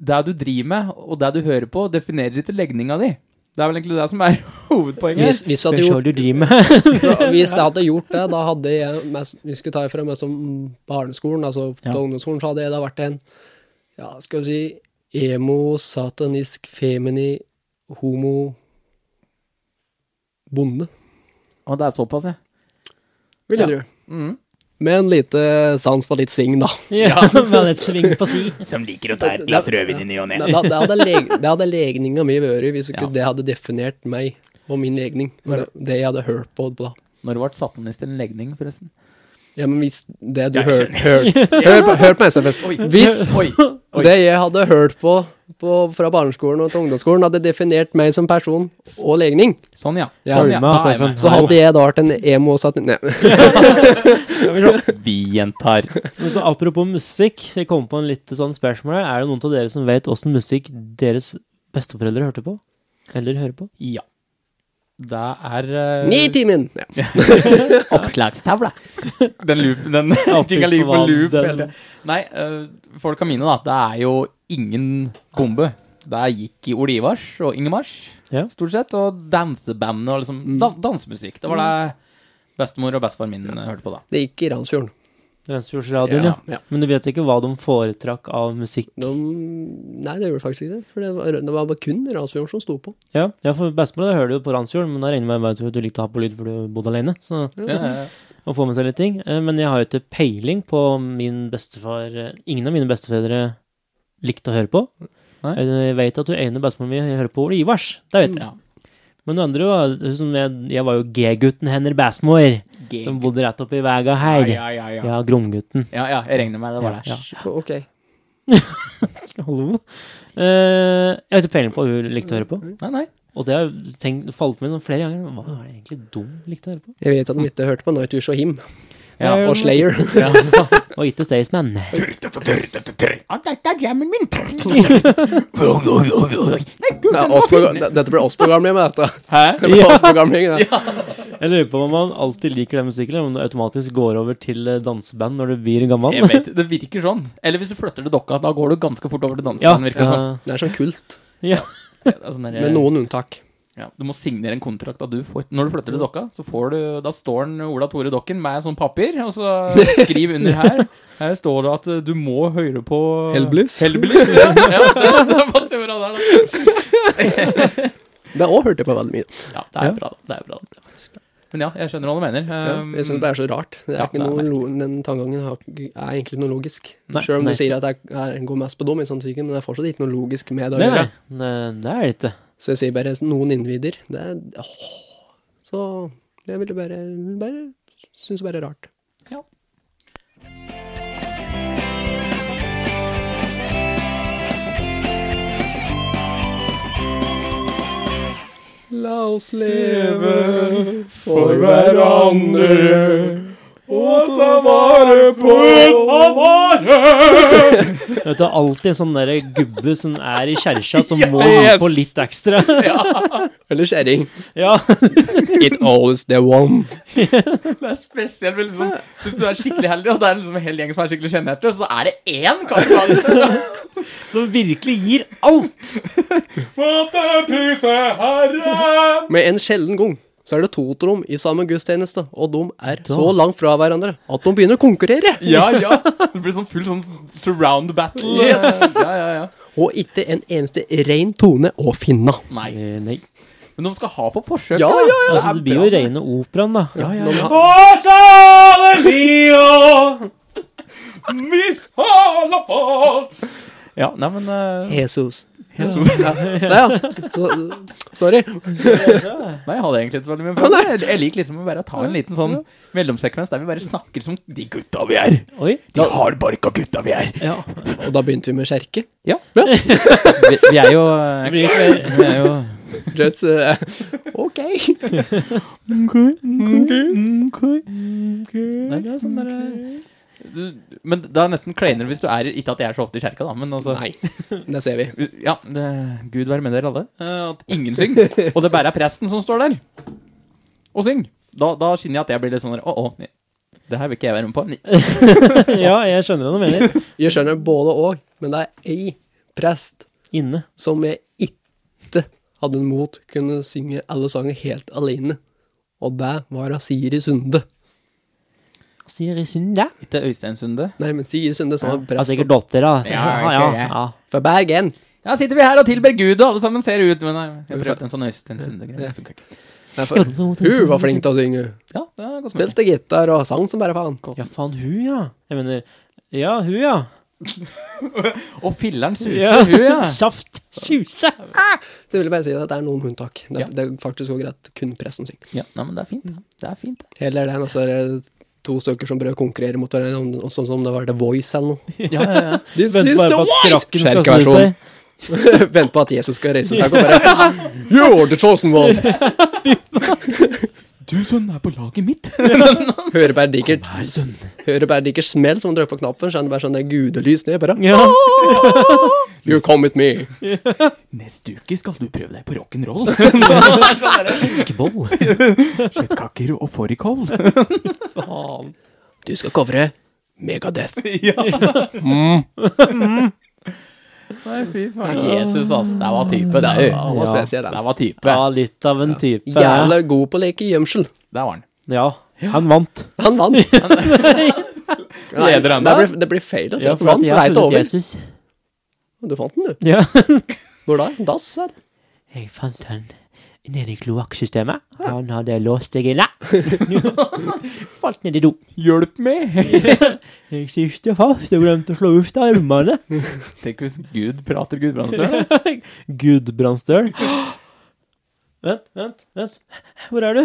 Det du driver med, og det du hører på, definerer ikke legninga di. Det er vel egentlig det som er hovedpoenget.
Hvis, hvis, at
Skal
du,
jeg se hva du driver med.
hvis jeg hadde gjort det, da hadde jeg mest, Vi skulle ta ifra meg som barneskolen, altså på
Ja.
ungdomsskolen, så hadde jeg da vært en Ja, skal vi si emo, satanisk, femini, homo Bonde,
Og det er såpass, ja.
vil jeg
Ja.
tro.
Mm.
Med en lite sans på litt sving, da.
Ja, Med et sving på si.
Som liker å
ta et glass rødvin i
ny og
Det, det, hadde, leg, det hadde legninga mi vært hvis ikke det hadde definert meg og min legning. og Det, det jeg hadde hørt på da.
Når ble satanist en legning, forresten?
Ja, men hvis det du
Jeg
hør,
skjønner.
hør, hør, på, hør på SF.
Oi.
Hvis-
Oi. Oi.
Det jeg hadde hørt på, på fra barneskolen og til ungdomsskolen, hadde definert meg som person og legning.
Sånn, ja.
Ja.
Sånn,
Følg
ja.
med,
Da er jeg
Steffen.
med.
Så hadde jeg da vært en emo og satt Nei.
Vi gjentar.
Men så apropos musikk, jeg kom på en litt sånn spørsmål her. Er det noen av dere som vet åssen musikk deres besteforeldre hørte på? Eller hører på?
Ja. Det er eh,
Nitimen! Ja.
Oppslagstavla. Den loopen, den jinga ligger på loop.
forvalter.
hele tiden. Nei, eh, folka mine, da. Det er jo ingen bombe. Det gikk i Ole Ivars og Ingemars,
Ja. Mm.
stort sett. Og dansebandene og liksom dan dansemusikk. Det var det bestemor og bestefar min eh, hørte på da.
Det gikk i Randsfjorden.
Randsfjordsradioen, ja.
Ja, ja.
Men du vet ikke hva de foretrakk av musikk?
De, nei, det gjorde faktisk ikke det. For det var, det var bare kun Randsfjorden som sto på.
Ja, ja for bestemor da hører du jo på Randsfjorden, men da regner jeg med at du likte å ha på lyd for du bodde alene. Så
Ja, ja,
å få med seg litt ting. Eh, Men jeg har jo ikke peiling på min bestefar eh, Ingen av mine bestefedre likte å høre på.
Nei. Mm.
Eh, Jeg vet at hun ene bestemoren min hører på Ole Ivars. Det vet jeg.
ja.
Men hun andre var hun som jeg, jeg var jo G-gutten hennes bestemor, som bodde rett oppi vega
Ja,
her.
ja, ja, ja.
Ja, Gromgutten.
ja, ja. Jeg regner med det var
Ja,
det.
ja.
Ok.
Hallo. Eh, jeg har ikke peiling på hva hun likte å høre på.
Nei, nei.
Og det har jeg tenkt, falt meg sånn flere ganger. Hva er det egentlig dum likte å høre på?
Jeg vet at de ikke hørte på Nightwish og Him
Ja,
Eh,
og Slayer.
Ja. Og ikke Staysman.
Dette er jammen min!
Det er oss på- det- Dette ble oss programmet med dette.
Hæ?
Det ble oss programmet, det.
Jeg lurer på om man alltid liker den musikken, eller om du automatisk går over til eh, danseband når du blir gammel.
Jeg vet, det virker sånn. Eller hvis du flytter til dokka, da går du ganske fort over til
Ja, eh,
danseband. virker det sånn.
ja,
Det er sånn kult.
ja.
Det er sånn der-
Med noen unntak.
ja, du må signere en kontrakt da du får Når du flytter til dokka, så får du Da står den Ola Tore Dokken med sånn papir, og så skriv under her. Her står det at eh, du må høre på
Hellbillies.
Hellbillies, ja. ja det, det passer jo bra der, da.
Det òg hørte jeg på veldig mye.
Ja, det er bra, da. Det er bra, da. Men ja, jeg skjønner hva du mener.
Ja,
Um,
jeg synes det er så rart. Det er
ja,
ikke
det er
noe, lo- den tankegangen har ikke- er egentlig noe logisk.
Nei,
Selv om
nei.
du sier at jeg er, går mest på dom, i sånn tyke, men det er fortsatt ikke noe logisk med det å
Nei, nei,
gjøre.
nei, det er det ikke.
Så jeg sier bare noen innvider. Det er, åh. Så jeg ville bare, bare synes det bare er rart. La oss leve
for hverandre
og
ta vare på ta vare!
Vet du, alltid en sånn der gubbe som er i kjerka, som må ha
Yes.
på litt ekstra.
Eller kjerring.
ja.
It always the one.
Det er spesielt med liksom, Hvis du er skikkelig heldig, og det er liksom en hel gjeng som er skikkelig sjenerte, så er det én kar som er-
Som virkelig gir alt.
Måtte prise Herren!
Med en sjelden gang så er det to til dem i samme gudstjeneste, og de er
Da.
så langt fra hverandre at de begynner å konkurrere.
Ja, ja. Det blir sånn full sånn surround battle.
Yes.
Ja, ja, ja.
Og ikke en eneste ren tone å finne.
Nei.
Eh, nei.
Men de skal ha på forsøk.
Ja, ja, ja.
Altså, det blir jo rene operaen, da.
Ja, ja, ja.
Ja, nei, men eh,
Jesus. Nei, ja. Så, sorry.
Nei, jeg hadde egentlig ikke veldig mye problem. Jeg, jeg liker liksom å bare ta en liten sånn mellomsekvens der vi bare snakker som de gutta vi er.
Oi.
De hardbarka gutta vi er.
Ja.
Og da begynte vi med kjerke.
Ja. Vi, vi er jo eh,
blir ikke mer-
Vi er jo
Just, eh, ok.
Nei, det er sånn der, eh, du, men det er nesten kleinere hvis du er Ikke at jeg er så ofte i kjerka, da, men altså
Nei, det ser vi.
Ja, det, Gud være med dere alle. eh, At ingen synger. Og det bare er presten som står der og synger. Da, da kjenner jeg at jeg blir litt sånn der, Å, å. nei, Det her vil ikke jeg være med på. Nei.
ja, jeg skjønner hva du mener.
Jeg skjønner både og, men det er ei prest
Inne.
som jeg ikke hadde mot kunne synge alle sanger helt alene. Og det var av Siri Sunde.
Sier i synda.
Ikke Øystein Sunde.
Nei, men Siri Sunde som var
Ja,
prest
sikkert dattera. altså.
Ja,
Ja,
ikke
ja,
jeg.
ja.
fra Bergen.
Ja, sitter vi her og tilber Gud, og alle sammen ser ut Men nei, jeg prøvde en sånn Øystein Sunde-greie. det funket ikke.
Nei, for, hun var flink til å synge.
Ja, det er godt mulig.
Spilte gitar og sang som bare faen.
Ja, faen, hun, ja. Jeg mener Ja, hun, ja.
Og filleren suser, hun, ja.
Saft suse.
Så jeg ville bare si at det er noen unntak. Det,
Ja.
det er faktisk også greit kun presten synger.
ja. Nei, men det er fint, det. Det er fint, det.
Heller det enn altså to stykker som prøver å konkurrere mot hverandre, om- om- sånn som det var The Voice eller noe.
Ja, ja, ja.
De
Vent
syns The
bare på at
Voice!
krakken skal
Kjerkeversjon.
snu seg.
Vent på at Jesus skal reise seg og bare You're the chosen one!
Du sønn er på laget mitt.
Hører bare dikkert Hører bare dikkert smell som han drar på knappen, så er det bare sånn det er gudelys ned. bare
Ja.
You come with me!
Neste uke skal du prøve deg på rock'n'roll.
Fiskeboll.
Kjøttkaker og fårikål.
Faen.
Du skal covre Megadeth.
Nei, fy faen. Jesus, ass. Det var type, det.
Ja,
Ja,
han var
Ja.
spesiell,
det
han.
var type.
Ja, litt av en type.
Jævla god på å leke gjemsel.
Det var han.
Ja. Han vant.
Han vant. Nei,
Leder han
det,
da?
blir, det blir feil, altså.
Ja,
for han
jeg har
fleit
funnet
over.
Jesus.
Du fant den, du.
Ja.
Hvor da? Dass her.
Jeg fant han nede i kloakksystemet. Han hadde låst seg inne. Falt ned i do.
Hjelp meg!
Jeg sikter fast og glemte å slå ut armene.
Tenk hvis Gud prater Gudbrandsdøl.
Gudbrandsdøl. Vent, vent, vent. Hvor er du?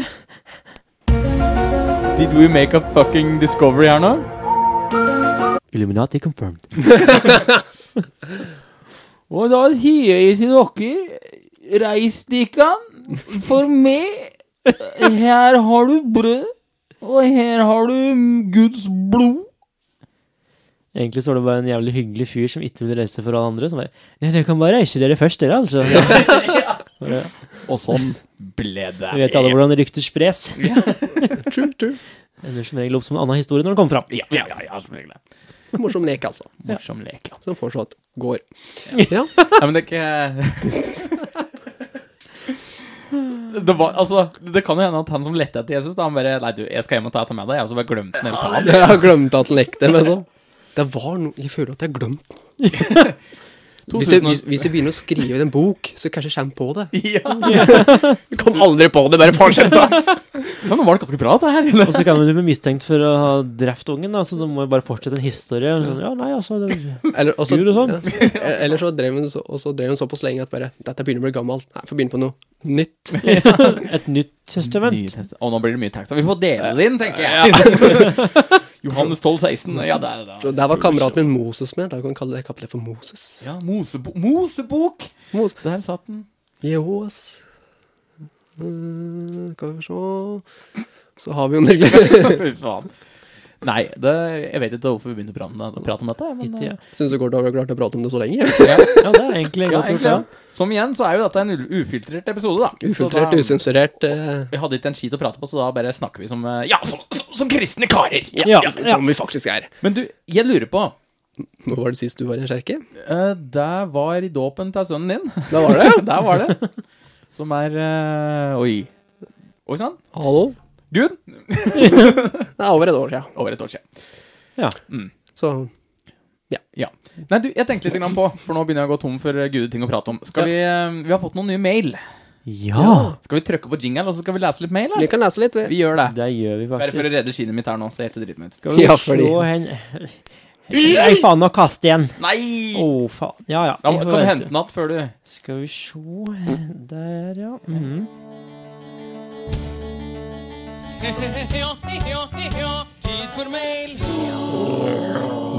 Did we make a fucking discovery her nå?
Illuminati confirmed.
Og da hier jeg til dere Reis dikkan for meg. Her har du brød, og her har du Guds blod.
Egentlig så var det bare en jævlig hyggelig fyr som ikke ville reise for alle andre. Som bare Nei, dere kan bare reise dere først, dere, altså. Bare,
Og sånn ble det.
Vi vet alle hvordan rykter spres.
True, true.
Ender som regel opp som en annen historie når den kommer fram.
Ja, ja, ja, ja, som regel.
Morsom lek, altså.
Morsom lek, ja.
Som fortsatt går. Ja.
Nei, men det er ikke det, var, altså, det kan jo hende at han som lette etter Jesus, da, han bare Nei, du, jeg skal hjem og ta etter meg deg. Og så bare glemte han hele tiden.
Jeg har glemt at han lekte, men sånn. Det var noe Jeg føler at jeg har glemt noe. Hvis jeg,
2000
hvis, hvis jeg begynner å skrive en bok, så kanskje jeg kommer på det.
Ja.
Jeg kom aldri på det, bare fortsett, da!
ja, nå var det ganske bra, det her.
Og så kan du bli mistenkt for å ha drept ungen, da, så du må jo bare fortsette en historie. og Sånn, ja, nei, altså det,
Eller, og så-
Gjorde du sånn?
Ja. E-, Eller så drev hun, så, og så drev hun såpass lenge at bare Dette begynner å bli gammelt. Nei, får begynne på noe nytt.
Et nytt testament.
Og nå blir det mye tekst. Vi får dele det inn, tenker jeg. Johannes 12, 16. Ja, det er det.
Så der var kameraten min Moses med. Da kan vi kalle det kapitlet for Moses.
Ja, Mosebo Mosebok!
Mos
Der satt den.
Jehovas Mm, Eh, Skal vi se Så har vi jo en reklame.
Fy faen. Nei, det, jeg vet ikke hvorfor vi begynte å prate om det- prate om dette. Men, eh,
Hittil, ja.
Syns det går til å ha klart å prate om det så lenge.
ja.
ja, det er egentlig
Ja,
godt gjort,
egentlig,
ja.
ja. Som igjen så er jo dette en u- ufiltrert episode, da.
Ufiltrert,
Så da-
usensurert. Eh,
Vi hadde ikke en skit å prate på, så da bare snakker vi som eh, Ja, som, som, som kristne karer! Ja.
Ja,
ja,
ja.
Som vi faktisk er.
Men du, jeg lurer på
Nå var det sist du var i en kjerke?
eh, Det var i dåpen til sønnen din.
Da var det.
Der var det. Som er eh, Oi. Oi sann.
Hallo.
Gud.
Det er over et år siden.
Over et år siden.
Ja.
Så
Ja. Nei, du, jeg tenkte litt grann på, for nå begynner jeg å gå tom for eh, gudeting å prate om. Skal vi eh, Vi har fått noen nye mail.
ja,
Skal vi trykke på jingle, og så skal vi lese litt mail,
vi
eller?
kan lese litt, vi.
Vi gjør det.
det gjør vi
Bare for å
faktisk.
redde skinnet mitt her nå, så jeg heter dritten ut.
Skal vi
Ja, fordi-
slå hen Nei, faen, nå kaster jeg den.
Nei!
Å, faen. Ja, ja.
Da
vi
må,
får
kan du
vente.
hente den igjen før du
Skal vi sjå Der, ja. Mhm.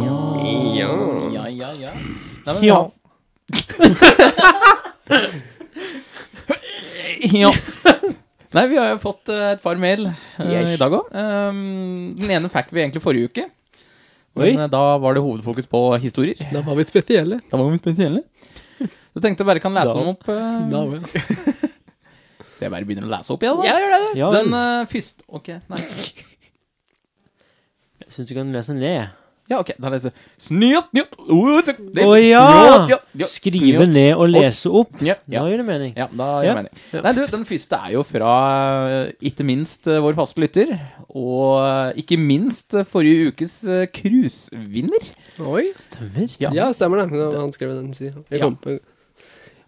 Ja.
Ja, ja, ja. Nei, men,
Ja.
ja. Nei, vi har jo fått eh, et par mail eh,
Yes.
i dag òg. den ene fikk vi egentlig forrige uke.
Oi.
Men eh, da var det hovedfokus på historier.
Da var vi spesielle.
Da var vi spesielle. Så tenkte jeg bare kan lese
Da-
dem opp. eh,
Da var vi.
så jeg bare begynner å lese opp igjen, da.
Ja, gjør det.
ja
Den eh, første Ok, nei. eh,
Jeg syns du kan lese den ned.
Ja, ok, da leser jeg. Oh, Snø, snø Å
Å ja! Skrive ned og lese opp.
Snø, ja.
Da gir det mening.
Ja, da gir
Ja.
jeg mening. Nei, du, den første er jo fra eh, ikke minst eh, vår faste lytter, og eh, ikke minst eh, forrige ukes eh, cruisevinner.
Oi.
Ja.
Stemmer. stemmer.
Ja, stemmer det. Det var Han skrev den siden. Jeg,
Ja.
kom på,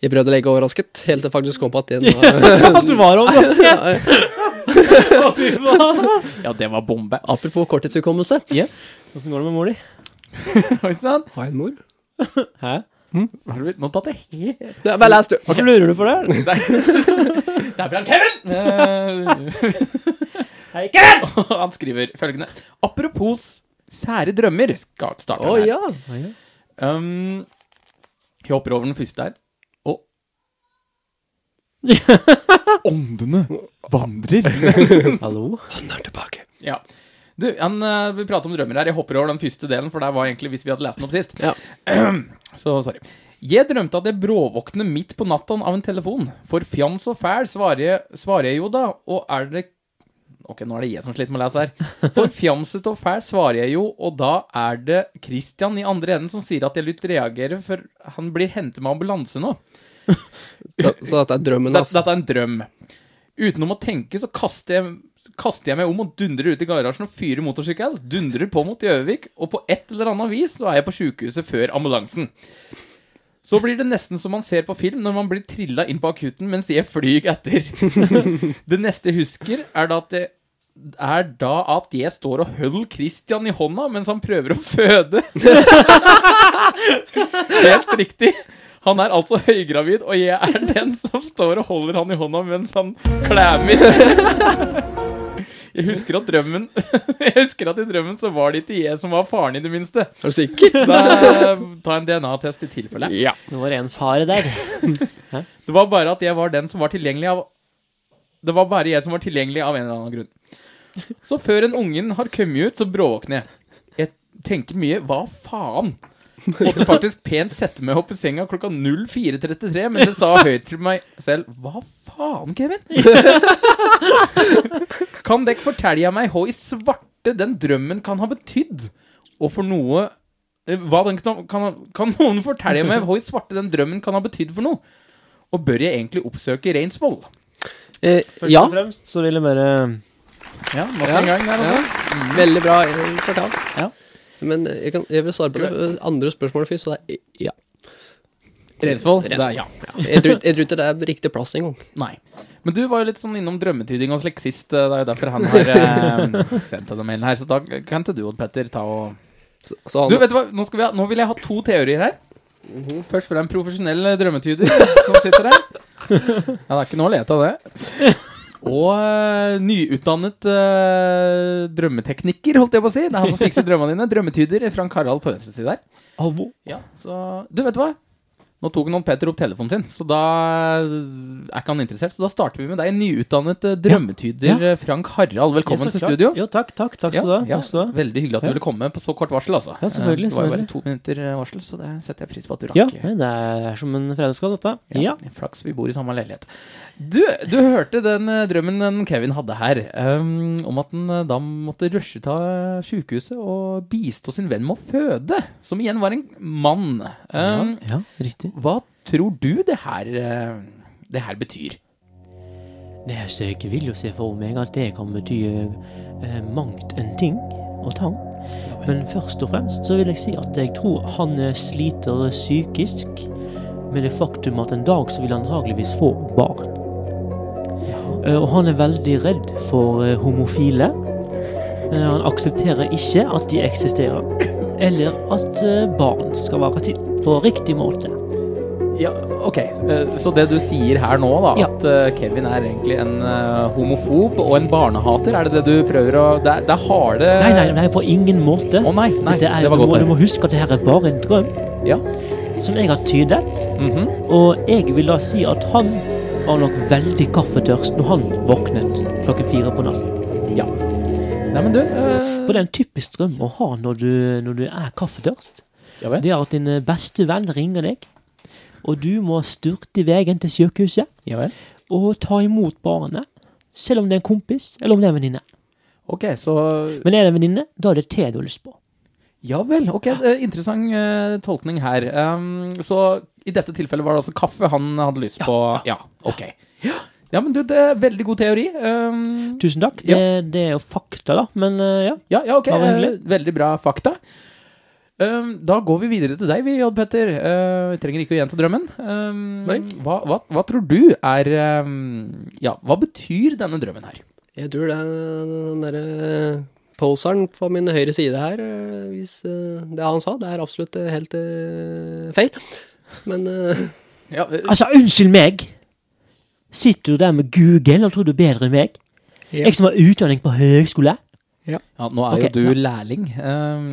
jeg prøvde å legge overrasket, helt til jeg faktisk kom på at den var
At du var overrasket! Å, fy faen.
Ja, det var bombe.
Apropos korttidshukommelse.
Yes.
Åssen går det med mor di?
Oi sann.
Har jeg en mor?
Hva
Hæ?
er det vi- Hm? Nå tatt det helt
Det, bare les, du.
Hvorfor lurer du på det?
Nei. Det er fra Kevin! Eh,
Hei, Kevin!
og han skriver følgende Apropos sære drømmer, skal starte
Å ja.
Um, jeg hopper over den første her. Og Åndene vandrer.
Hallo?
Han er tilbake.
ja. Du, han, eh, vi prater om drømmer her. Jeg hopper over den første delen, for der var egentlig hvis vi hadde lest den opp sist.
Ja.
Så sorry. Jeg drømte at jeg bråvåkner midt på natta av en telefon. For fjams og fæl svarer jeg, svarer jeg jo da, og er det Ok, nå er det jeg som sliter med å lese her. For fjamset og fæl svarer jeg jo, og da er det Christian i andre enden som sier at jeg lytt reagerer, for han blir hentet med ambulanse nå.
Da, så dette er drømmen altså.
Dette, dette
hans.
er en drøm. Utenom å tenke, så kaster jeg, kaster jeg meg om og dundrer ut i garasjen og fyrer motorsykkel. Dundrer på mot Gjøvik, og på et eller annet vis så er jeg på sjukehuset før ambulansen. Så blir det nesten som man ser på film når man blir trilla inn på akutten mens jeg flyr etter. det neste jeg husker, er da at jeg er da at jeg står og holder Christian i hånda mens han prøver å føde. Helt riktig. Han er altså høygravid, og jeg er den som står og holder han i hånda mens han klemmer. Jeg husker at drømmen Jeg husker at i drømmen så var det ikke jeg som var faren, i det minste.
Er du sikker?
Da, eh, ta en DNA-test i tilfelle.
Ja.
Det var en fare der.
Det var bare at jeg var den som var tilgjengelig av Det var bare jeg som var tilgjengelig av en eller annen grunn. Så før en ungen har kommet ut, så bråvåkner jeg. Jeg tenker mye 'hva faen'? Måtte faktisk pent sette meg opp i senga klokka 04.33, men det sa høyt til meg selv 'hva faen, Kevin'? Kan dere fortelle meg hva i svarte den drømmen kan ha betydd? Og for noe eh, hva den kan, kan, kan noen fortelle meg hva i svarte den drømmen kan ha betydd for noe? Og bør jeg egentlig oppsøke Reinsvoll?
Eh,
Først
ja.
og fremst så vil jeg bare
Ja, nok
Ja,
en gang. Der, altså.
Veldig bra eh, fortalt.
Ja.
Men eh, jeg, kan, jeg vil svare på det eh, andre spørsmålet først. Så det er ja.
Reinsvoll. Det er
Reinsvoll.
ja.
Jeg tror, jeg tror ikke det er riktig plass engang.
Nei. Men du var jo litt sånn innom drømmetyding og sleksist. Det er jo derfor han har eh, sendt denne mailen her. Så da kan ikke du, Odd Petter, ta og
Så, så
Du,
han,
vet du hva? Nå, skal vi ha, nå vil jeg ha to teorier her. Først fra en profesjonell eh, drømmetyder som sitter her. Ja, det er ikke noe å lete av det. Og eh, nyutdannet eh, drømmetekniker, holdt jeg på å si. Det er han som fikser drømmene dine. Drømmetyder. Frank Harald på venstre side her.
Hallo?
Ja, så Du, vet du hva? Nå tok noen Peter opp telefonen sin, så da er ikke han interessert. Så da starter vi med deg, nyutdannet eh, drømmetyder eh, Frank Harald. Velkommen
Ja, så
til
klart.
studio.
Jo, takk, takk. Takk skal du ha.
Ja,
Takk skal du ha.
Veldig hyggelig at du ville komme på så kort varsel, altså.
Ja,
Eh,
selvfølgelig,
Det var jo
selvfølgelig.
bare to minutter eh, varsel, så det setter jeg pris på at du rakk.
Ja, det er som en fredagskveld, dette. Ja.
Flaks vi bor i samme leilighet. Du, du hørte den eh, drømmen den Kevin hadde her, ehm, om at han eh, da måtte rushe til eh, sykehuset og bistå sin venn med å føde, som igjen var en mann. Ehm,
ja, riktig.
Hva tror du det her, eh, det her betyr?
Det er så jeg eh, vil jo se for meg at det kan bety eh, mangt en ting og tang. Men først og fremst så vil jeg si at jeg tror han eh, sliter psykisk med det faktum at en dag så vil han antageligvis få barn. Eh, Og han er veldig redd for eh, homofile. Eh, Han aksepterer ikke at de eksisterer. Eller at eh, barn skal være til på riktig måte.
Ja, ok. Eh, Så det du sier her nå, da,
Ja.
at eh, Kevin er egentlig en eh, homofob og en barnehater, er det det du prøver å Det er, det er harde
Nei, nei, nei, på ingen måte.
Å nei, nei,
Dette er,
det var
du,
godt
må,
å
du må
høre.
huske at det her er bare en drøm
Ja.
som jeg har tydet.
mhm.
Og jeg vil da si at han var nok veldig kaffetørst når han våknet klokken fire på natten.
ja. Nei, men du eh,
For det er en typisk drøm å ha når du, når du er kaffetørst.
Ja vel?
Det er at din eh, beste venn ringer deg, og du må styrte i veien til sykehuset
Ja vel.
og ta imot barnet. Selv om det er en kompis, eller om det er en venninne.
Ok, så
Men er det en venninne, da er det te du har lyst på.
Ja vel. Ok, eh, interessant eh, tolkning her. Um, så i dette tilfellet var det altså kaffe han hadde lyst på? Ja. Ok. Ja, men du, det er veldig god teori. Um,
Tusen takk. Det, det er jo fakta, da. Men eh, ja.
Ja, ja, ok.
Det var hyggelig.
eh, Veldig bra fakta. Um, da går vi videre til deg, vi, Odd Petter. Uh, vi trenger ikke å gjenta drømmen. Um,
Nei.
hva, hva, hva tror du er um, Ja, hva betyr denne drømmen her?
Jeg tror det er den derre poseren på min høyre side her eh, Hvis eh, det han sa, det er absolutt eh, helt eh, feil. Men eh,
Ja,
Altså, unnskyld meg! Sitter du der med Google og tror du er bedre enn meg?
Ja.
Jeg som har utdanning på høgskole?
nå er
ok,
jo du
ja.
lærling. Um,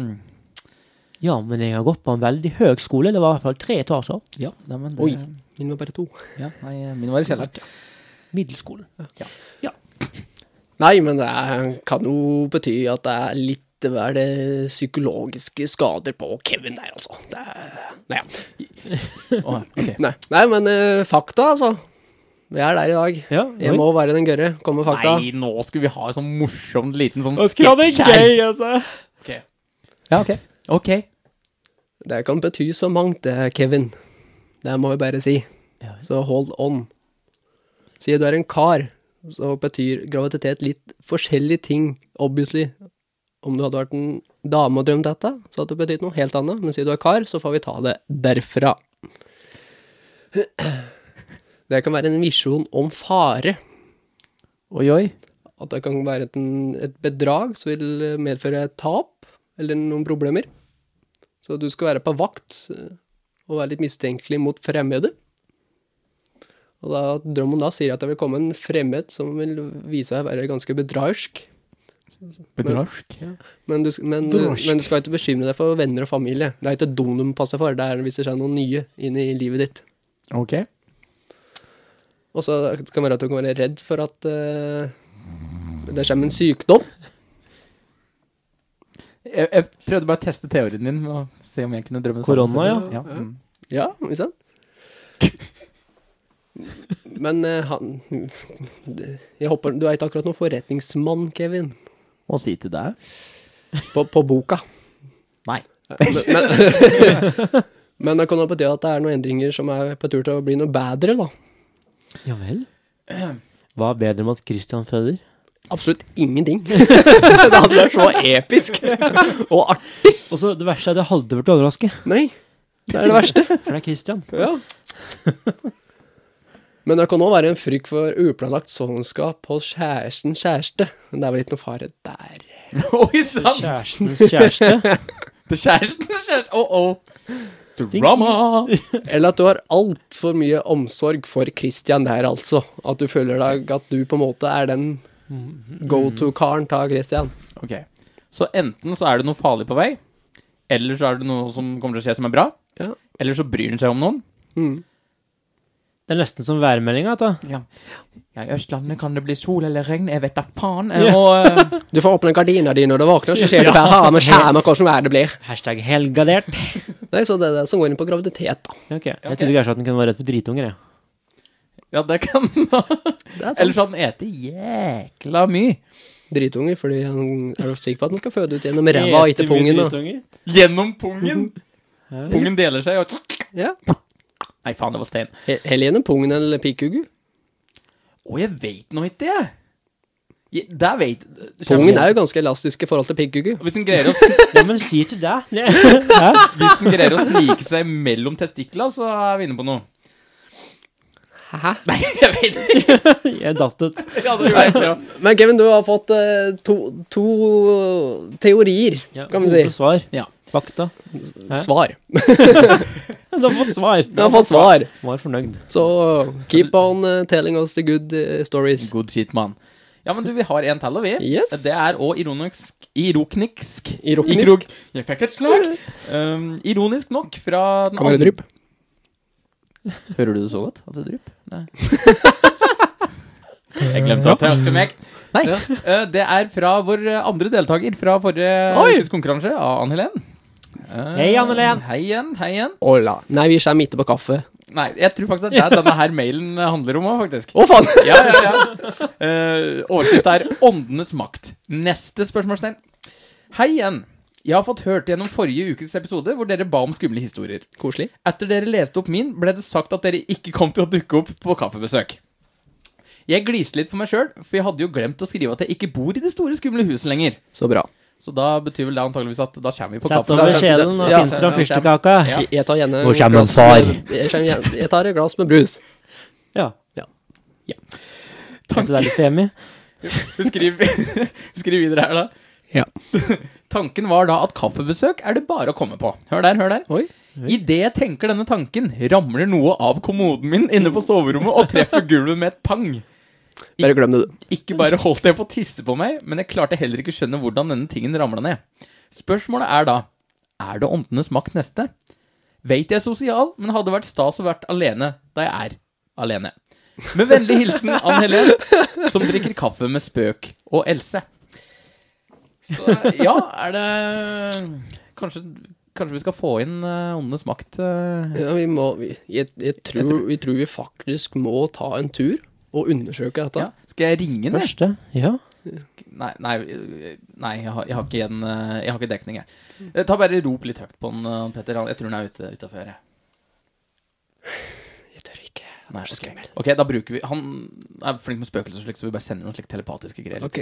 Ja, men jeg har gått på en veldig høy skole. Det var i hvert fall tre etasjer.
ja, nei, men det,
Oi. min var bare to.
Ja, nei, min var i kjelleren.
Middelskolen.
Nei, men det er- kan jo bety at det er litt vel eh, psykologiske skader på Kevin der, altså. Det er, nei, ja.
Å, ok.
nei. nei, men eh, fakta, altså. Vi er der i dag.
Ja,
Jeg må være den gørre. Kom med fakta.
Nei, nå skulle vi ha en sånn morsomt liten sånn
Ja, det
sketsj
er
her.
gøy, altså.
Ja, ok. Ok.
Det kan bety så mangt, det, Kevin. Det må jeg bare si.
Ja.
Så hold on. Sier du er en kar, så betyr graviditet litt forskjellige ting, obviously. Om du hadde vært en dame og drømt dette, så hadde det betydd noe helt annet. Men sier du er kar, så får vi ta det derfra. Det kan være en visjon om fare.
Oi, oi.
At det kan være et, et bedrag som vil medføre et tap eller noen problemer. Så du skal være på vakt eh, og være litt mistenkelig mot fremmede. Og da, at drømmen da sier at det vil komme en fremmed som vil vise seg å være ganske bedragersk.
Bedrask.
Men du, men,
Bedragersk.
men du skal ikke bekymre deg for venner og familie. Det er ikke dem du må passe for, det er hvis det skjer noen nye inn i livet ditt.
Ok.
Og så kan det være at du kan være redd for at eh, det kommer en sykdom.
Jeg, jeg prøvde bare å teste teorien din med å se om jeg kunne drømme det samme
Korona,
selv.
ja.
Mm.
Ja, ikke sant? Men eh, han Jeg håper Du er ikke akkurat noen forretningsmann, Kevin,
Hva si til deg?
på, på boka.
Nei.
Men, men, men det kan jo bety at det er noen endringer som er på tur til å bli noe bedre, da.
Ja vel. Hva er bedre enn at Christian føder?
Absolutt ingenting. det hadde vært så episk og artig.
Og så Det verste er at jeg hadde vært overrasket,
Nei, det er det verste.
for det er Christian.
Ja. Men det kan òg være en frykt for uplanlagt svangerskap hos kjæresten kjæreste. Men det er vel ikke noe fare der.
Oi sann!
Kjærestens kjæreste.
Til kjæresten, kjæresten! Oh, oh. Drama!
Eller at du har altfor mye omsorg for Christian der, altså. At du føler deg at du på en måte er den go-to-karen til Christian.
Ok. Så enten så er det noe farlig på vei, eller så er det noe som kommer til å skje som er bra,
Ja.
eller så bryr han seg om noen,
Mm.
Det er nesten som værmeldinga. da.
Ja. ja, i Østlandet kan det bli sol eller regn, jeg vet da faen.
Ja.
Jeg må eh,
Du får åpne gardina di når du våkner, så ser du bare ha med skjermen hvordan været det blir.
Hashtag helgardert.
Nei, så det er det som går inn på graviditet, da.
Ok, Jeg trodde kanskje at den kunne være redd for dritunger. jeg.
Ja, det kan
Det er sånn.
Eller sånn ete jækla mye.
Dritunger, fordi han er ofte sikker på at han skal føde ut gjennom ræva og ikke
Eter mye
pungen. da.
dritunger.
Gjennom pungen.
Ja.
Pungen deler seg og
Ja.
Nei, faen, det var stein.
He- Heller gjennom pungen eller pikkugu.
Å, jeg veit nå ikke, jeg. Jeg- Der veit
Pungen er jo ganske elastisk i forhold til pikkugu.
Hvis en greier å,
Ja, men sier til deg. Hæ?
hvis en greier å snike seg mellom testikla, så er vi inne på noe.
Hæ?
Nei, jeg vet ikke.
Jeg datt ut.
Ja, det gjør jeg ikke.
Men Kevin, du har fått eh, to, to teorier,
Ja,
kan vi
gode
si.
Svar.
Ja.
Fakta. Hæ?
Svar.
Du har fått svar.
Du har fått svar.
Var fornøyd.
Så keep on eh, telling us the good eh, stories.
Good shit, mann. Ja, men du, vi har en til, og vi.
Yes.
Det er òg ironisk Irokniksk.
Iroknisk.
I krog. Jeg fikk et slag. Um, ironisk nok fra den
Kan være
andre-
drypp.
Hører du det så godt? At det drypp? Nei. Jeg glemte at jeg hørte meg. Nei.
Ja.
eh, det er fra vår eh, andre deltaker fra forrige
Oi.
ukes konkurranse, av Ann Helen. Eh,
Hei, Ann Helen.
Hei igjen. Hei igjen.
Hola. Nei, vi skjer midt på kaffe.
Nei, jeg tror faktisk at det er denne her mailen eh, handler om òg, faktisk.
Å, faen!
ja, ja, ja. Eh, overskrift er 'Åndenes makt'. Neste spørsmålstegn. Hei igjen. Jeg har fått hørt gjennom forrige ukes episode hvor dere ba om skumle historier.
Koselig.
Etter dere leste opp min, ble det sagt at dere ikke kom til å dukke opp på kaffebesøk. Jeg gliste litt for meg sjøl, for jeg hadde jo glemt å skrive at jeg ikke bor i det store, skumle huset lenger.
Så bra.
Så da betyr vel det antageligvis at da kommer vi på
Sett
kaffe.
over
Da-
skjeden og
Ja,
finn fram
ja,
fyrstekaka.
Ja.
Jeg- Jeg tar gjerne
Hvor kommer
glass
far?
med- Jeg, kommer gjerne- jeg tar et glass med brus.
Ja.
Ja.
Kanskje det er litt femi?
Skriv, skriv videre her, da.
Ja.
Tanken var da at kaffebesøk er det bare å komme på. Hør der, hør der.
Oi.
Idet jeg tenker denne tanken, ramler noe av kommoden min inne på soverommet og treffer gulvet med et pang.
Bare glem det, du.
Ikke bare holdt jeg på å tisse på meg, men jeg klarte heller ikke skjønne hvordan denne tingen ramla ned. Spørsmålet er da er det åndenes makt neste? Veit jeg er sosial, men hadde vært stas å vært alene da jeg er alene. Med vennlig hilsen Ann Helen, som drikker kaffe med spøk, og Else. Så ja, er det Kanskje, kanskje vi skal få inn eh, åndenes makt? eh,
Ja, vi må vi, jeg, jeg, tror, vi tror vi faktisk må ta en tur og undersøke dette.
ja. Skal jeg ringe den? jeg?
Første? Ja.
Nei, nei, øh, nei jeg, har, jeg, har ikke en, øh, jeg har ikke dekning, jeg. Eh, Ta bare rop litt høyt på den, øh, Petter. Han- Jeg tror den er ute utafor.
Jeg tør ikke.
Nei, ok. ok, da bruker vi Han er flink med spøkelser, og slikt, så vi bare sender noen slik telepatiske greier.
Ok.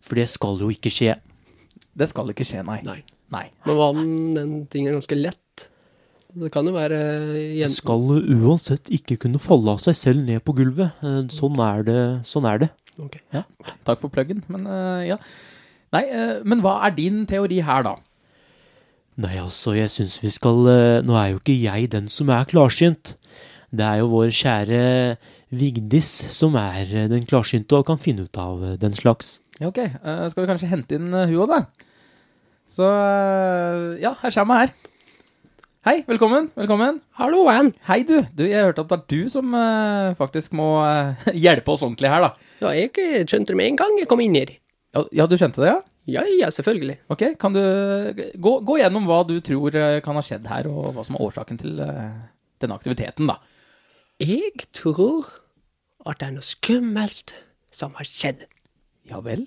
For det skal jo ikke skje.
Det skal ikke skje, nei.
Nei.
nei.
Men hva om den tingen er ganske lett? Det kan jo være eh,
Det
igjen.
skal uansett ikke kunne falle av seg selv ned på gulvet. Eh, Sånn er det. Sånn er det.
Ok.
Takk for pluggen, men eh, ja. Nei, eh, men hva er din teori her, da?
Nei, altså, jeg syns vi skal eh, Nå er jo ikke jeg den som er klarsynt. Det er jo vår kjære Vigdis som er eh, den klarsynte og kan finne ut av eh, den slags.
Ja, ok, eh, skal vi kanskje hente inn eh, hun òg, da? Så eh, ja, her kommer jeg her. Hei, velkommen. velkommen.
Hallo, Ann!
Hei, du. du. Jeg hørte at det er du som eh, faktisk må eh, hjelpe oss ordentlig her, da.
Ja, jeg eh, skjønte det med en gang jeg kom inn her.
Ja, ja, du kjente det, ja?
Ja, ja, selvfølgelig.
Ok, kan du eh, gå, gå gjennom hva du tror eh, kan ha skjedd her, og hva som er årsaken til eh, denne aktiviteten, da.
Jeg tror at det er noe skummelt som har skjedd.
Ja vel?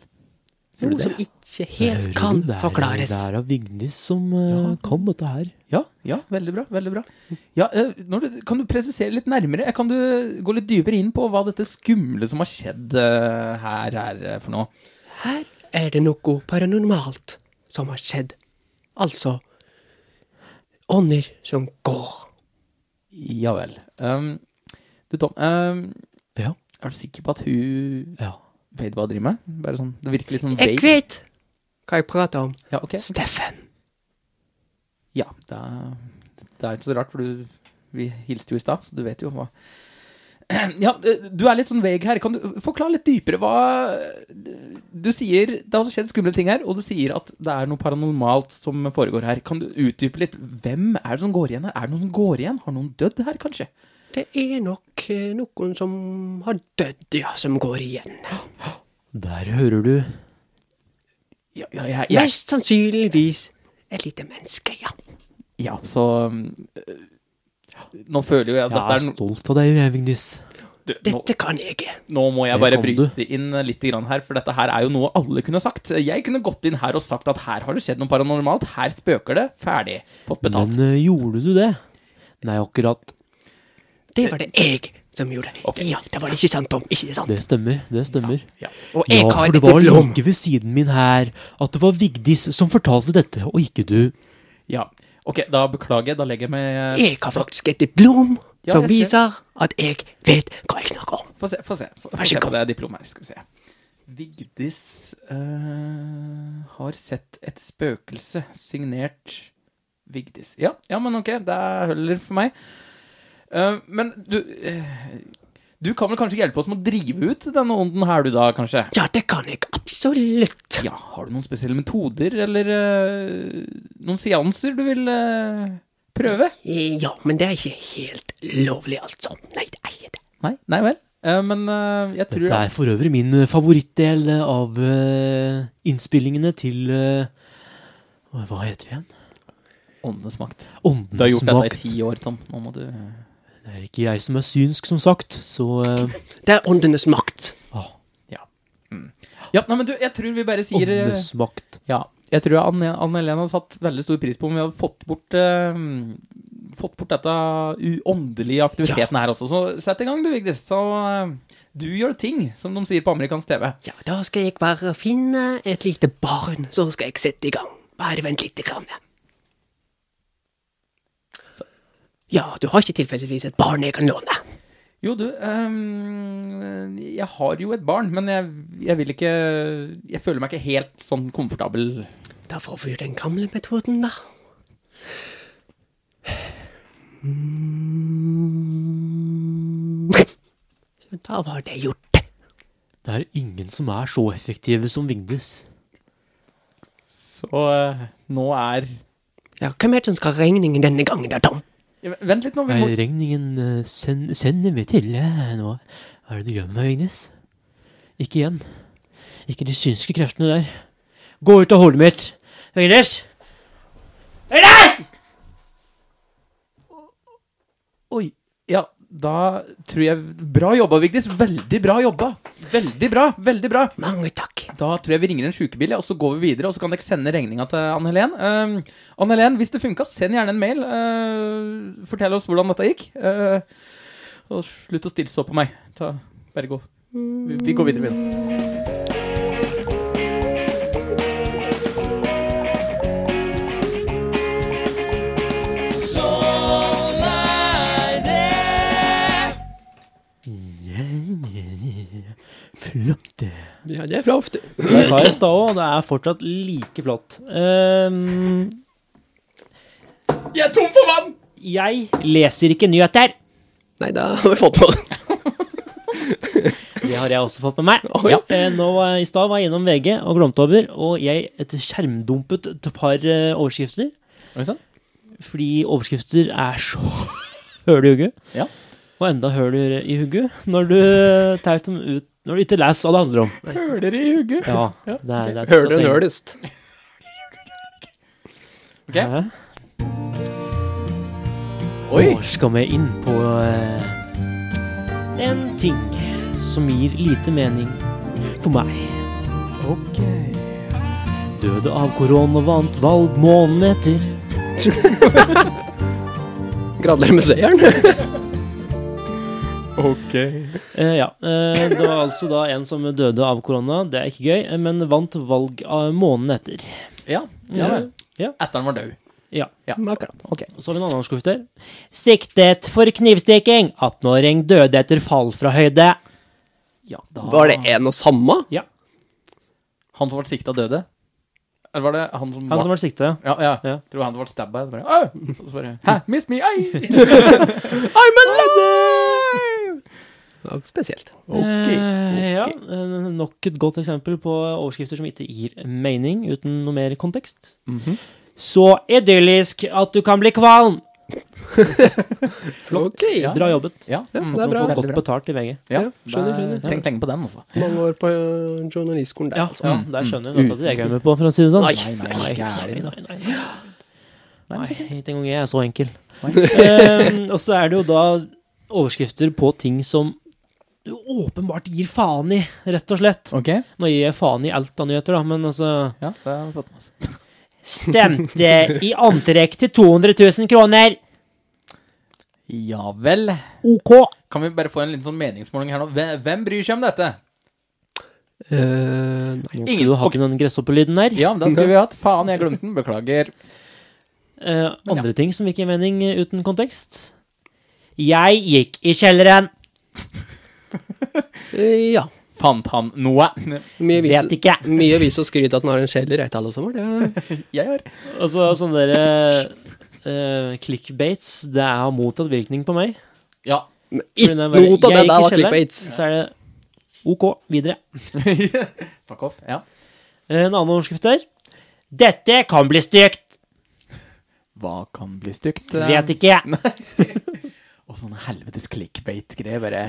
Sier
Noe
du
som
det?
ikke helt kan
Det er-
forklares.
Det er av Vigdis som eh, kan dette her.
Ja, ja, veldig bra. veldig bra. Ja, eh, når du, kan du presisere litt nærmere? Eh, Kan du gå litt dypere inn på hva dette skumle som har skjedd eh, her, er eh, for noe?
Her er det noe paranormalt som har skjedd. Altså ånder som går.
Ja vel. Ehm, du, Tom. ehm,
Ja.
Er du sikker på at hun
Ja.
vet hva hun driver med? Bare sånn, det virker litt sånn
Jeg
vague.
vet hva jeg prater om.
Ja, ok.
Steffen.
Ja, det er, det er ikke så rart, for du, vi hilste jo i stad, så du vet jo hva Ja, du er litt sånn veg her. Kan du forklare litt dypere hva Du sier Det har skjedd skumle ting her, og du sier at det er noe paranormalt som foregår her. Kan du utdype litt? Hvem er det som går igjen her? Er det noen som går igjen? Har noen dødd her, kanskje?
Det er nok eh, noen som har dødd, ja, som går igjen.
Der hører du
Ja, ja, jeg, jeg,
Mest sannsynligvis et lite menneske, ja.
ja så øh, Nå føler jo jeg at
Jeg
dette er
er
no-
stolt av deg, Vignis.
du, nå,
Dette kan jeg.
Nå må jeg
Det
bare
kan
bryte inn litt grann her, for dette her er jo noe alle kunne sagt. Jeg kunne gått inn her og sagt at her har det skjedd noe paranormalt, her spøker det, ferdig, fått betalt.
Men eh, gjorde du det? Nei, akkurat.
Det var det jeg som gjorde. Ja, det var det ikke sant, Tom. Ikke sant.
Det stemmer. Det stemmer.
Ja.
Og jeg
Ja,
har
for
et
det var
diplom.
like ved siden min her at det var Vigdis som fortalte dette, og ikke du.
ja. Ok, da beklager jeg, da legger jeg meg eh,
Jeg har faktisk et diplom
Ja,
som
jeg ser.
viser at jeg vet hva jeg snakker om.
Få se, få se. Få, få
Vær så
se på
god.
det diplomet her, skal vi se. Vigdis eh, har sett et spøkelse signert Vigdis. Ja, ja men ok, det holder for meg. Eh, men du eh, Du kan vel kanskje ikke hjelpe oss med å drive ut denne ånden her, du da, kanskje?
Ja, det kan jeg absolutt.
Ja, har du noen spesielle metoder, eller eh, noen seanser du vil eh, prøve?
Ja, men det er ikke helt lovlig, altså. Nei, det er ikke det.
Nei, nei vel. Eh, men eh, jeg tror
Dette er for øvrig min eh, favorittdel eh, av eh, innspillingene til eh, Hva heter vi igjen?
åndenes makt. Du har
Åndens
gjort dette i
makt.
ti år, Tom. Nå må du
Det er ikke jeg som er synsk, som sagt, så eh,
Det er åndenes makt.
ah,
Ja, nei, men du, jeg tror vi bare sier eh,
Åndenes makt.
Ja. Jeg tror Anne Anne Helen hadde satt veldig stor pris på om vi hadde fått bort eh, Fått bort dette u- åndelige aktiviteten her også. Så sett i gang, du, Vigdis. Så eh, du gjør ting, som de sier på amerikansk TV.
Ja, da skal jeg bare finne et lite barn, så skal jeg sette i gang. Bare vent lite grann.
Så.
Ja, du har ikke tilfeldigvis et barn jeg kan låne?
Jo, du ehm, Jeg har jo et barn, men jeg, jeg vil ikke Jeg føler meg ikke helt sånn komfortabel.
Da får vi jo den gamle metoden, da. Mm. Så Da var det gjort.
Det er ingen som er så effektive som Vigdis.
Så eh, nå er
Ja, Hvem er det som skal ha regningen denne gangen, da, Tom?
Ja, men Vent litt nå. Vi
Nei,
må,
regningen eh, send, sender vi til eh, nå. Hva er det du gjør med meg, Vigdis? Ikke igjen. Ikke de synske kreftene der. Gå ut av hodet mitt! Vigdis!
oi. Ja, da tror jeg Bra jobba, Vigdis. Veldig bra jobba. Veldig bra. Veldig bra.
Mange takk.
Da tror jeg vi ringer en sjukebil, ja, og så går vi videre. Og så kan dere sende regninga til Ann Helen. Ehm, Ann Helen, hvis det funka, send gjerne en mail. eh, fortell oss hvordan dette gikk. eh, og slutt å stille så på meg. Ta, bare gå. Vi, vi går videre. videre.
Flott, det.
Ja, det er flott.
Jeg sa i stad òg, og det er fortsatt like flatt. Ehm,
Jeg er tom for vann!
jeg leser ikke nyheter.
Nei, da har vi fått noe.
Det har jeg også fått med meg.
Oi.
Ja, eh, nå eh, I stad var jeg innom VG og glemte over, og jeg et skjermdumpet et par eh, overskrifter.
Oi sann.
Fordi overskrifter er så høl i hugget.
Ja.
Og enda høler i hugget når du tar dem ut Når du ikke leser hva det handler om.
Høler i hugget.
Ja, det er, det er
Hører du en hølest?
Ok.
Hæ?
Oi.
Nå skal vi inn på eh, en ting som gir lite mening for meg.
Ok.
Døde av korona vant valg måneden etter.
Gratulerer med seieren.
Ok.
Eh, ja. eh, det var altså da en som døde av korona. Det er ikke gøy, eh, men vant valg av eh, måneden etter.
Ja, ja vel.
Ja.
Etter han var død.
Ja.
Ja.
Akkurat.
Ok.
Så har vi en annen overskrift her. Siktet for knivstikking. 18-åring døde etter fall fra høyde.
Ja, da
Var det en og samme?
Ja.
Han som ble sikta, døde? Eller var det han som
Han som ble sikta.
Ja, ja.
Ja.
Tror han ble stabba. Så bare, «Åh!» og så bare Hæ? Miss me? Ai! I'm alive!
Ja, spesielt.
Eh, ja, eh, nok et godt eksempel på overskrifter som ikke gir mening uten noe mer kontekst. Så idyllisk at du kan bli kvalm!
Flott.
Ja.
Bra jobbet.
Ja,
Ja,
mm,
det er
Du
bra.
får
Veldig
godt betalt i VG.
Ja,
Ja, skjønner,
det er-
skjønner.
Tenk, tenk på den, altså.
Mange år på øh, journalistskolen der.
Ja,
altså.
ja
Mm,
der
mm.
skjønner du at det er ikke jeg med på, for å si det sånn.
Nei,
nei,
nei,
gæren, da.
nei, nei, nei.
Nei,
Nei,
men så
ikke engang jeg er så enkel.
Nei.
Ehm, og så er det jo da overskrifter på ting som du åpenbart gir faen i, rett og slett.
Ok,
Nå gir jeg faen i alt av nyheter, da, men altså
ja, det har vi fått med oss.
Stemte i antrekk til 200 000 kroner.
Ja vel.
OK.
Kan vi bare få en liten sånn meningsmåling her nå? Hvem- Hvem bryr seg om dette?
Eh, nei.
Nå
Ingen-
skulle du ha ikke den gresshoppelyden der.
Ja, men da skulle vi hatt. Faen, jeg glemte den. Beklager.
Eh, andre ting som ikke gir mening eh, uten kontekst. Jeg gikk i kjelleren.
Eh, ja.
Fant han noe?
Mye
Vet
vis,
ikke.
mye vis og skryt at den har en kjeller, er ikke alle som har det.
Jeg har.
Altså, sånne derre eh, clickbaits, det er av motsatt virkning på meg.
Ja.
Men
Fordi
Ikke
når jeg
noe av
bare-
det
jeg gikk i
der var
kjelleren,
clickbaits.
Så er det OK, videre.
Fuck off. Ja.
Eh, En annen overskrift der. Dette kan bli stygt.
Hva kan bli stygt?
Vet ikke.
Og sånne helvetes clickbait-greier. Bare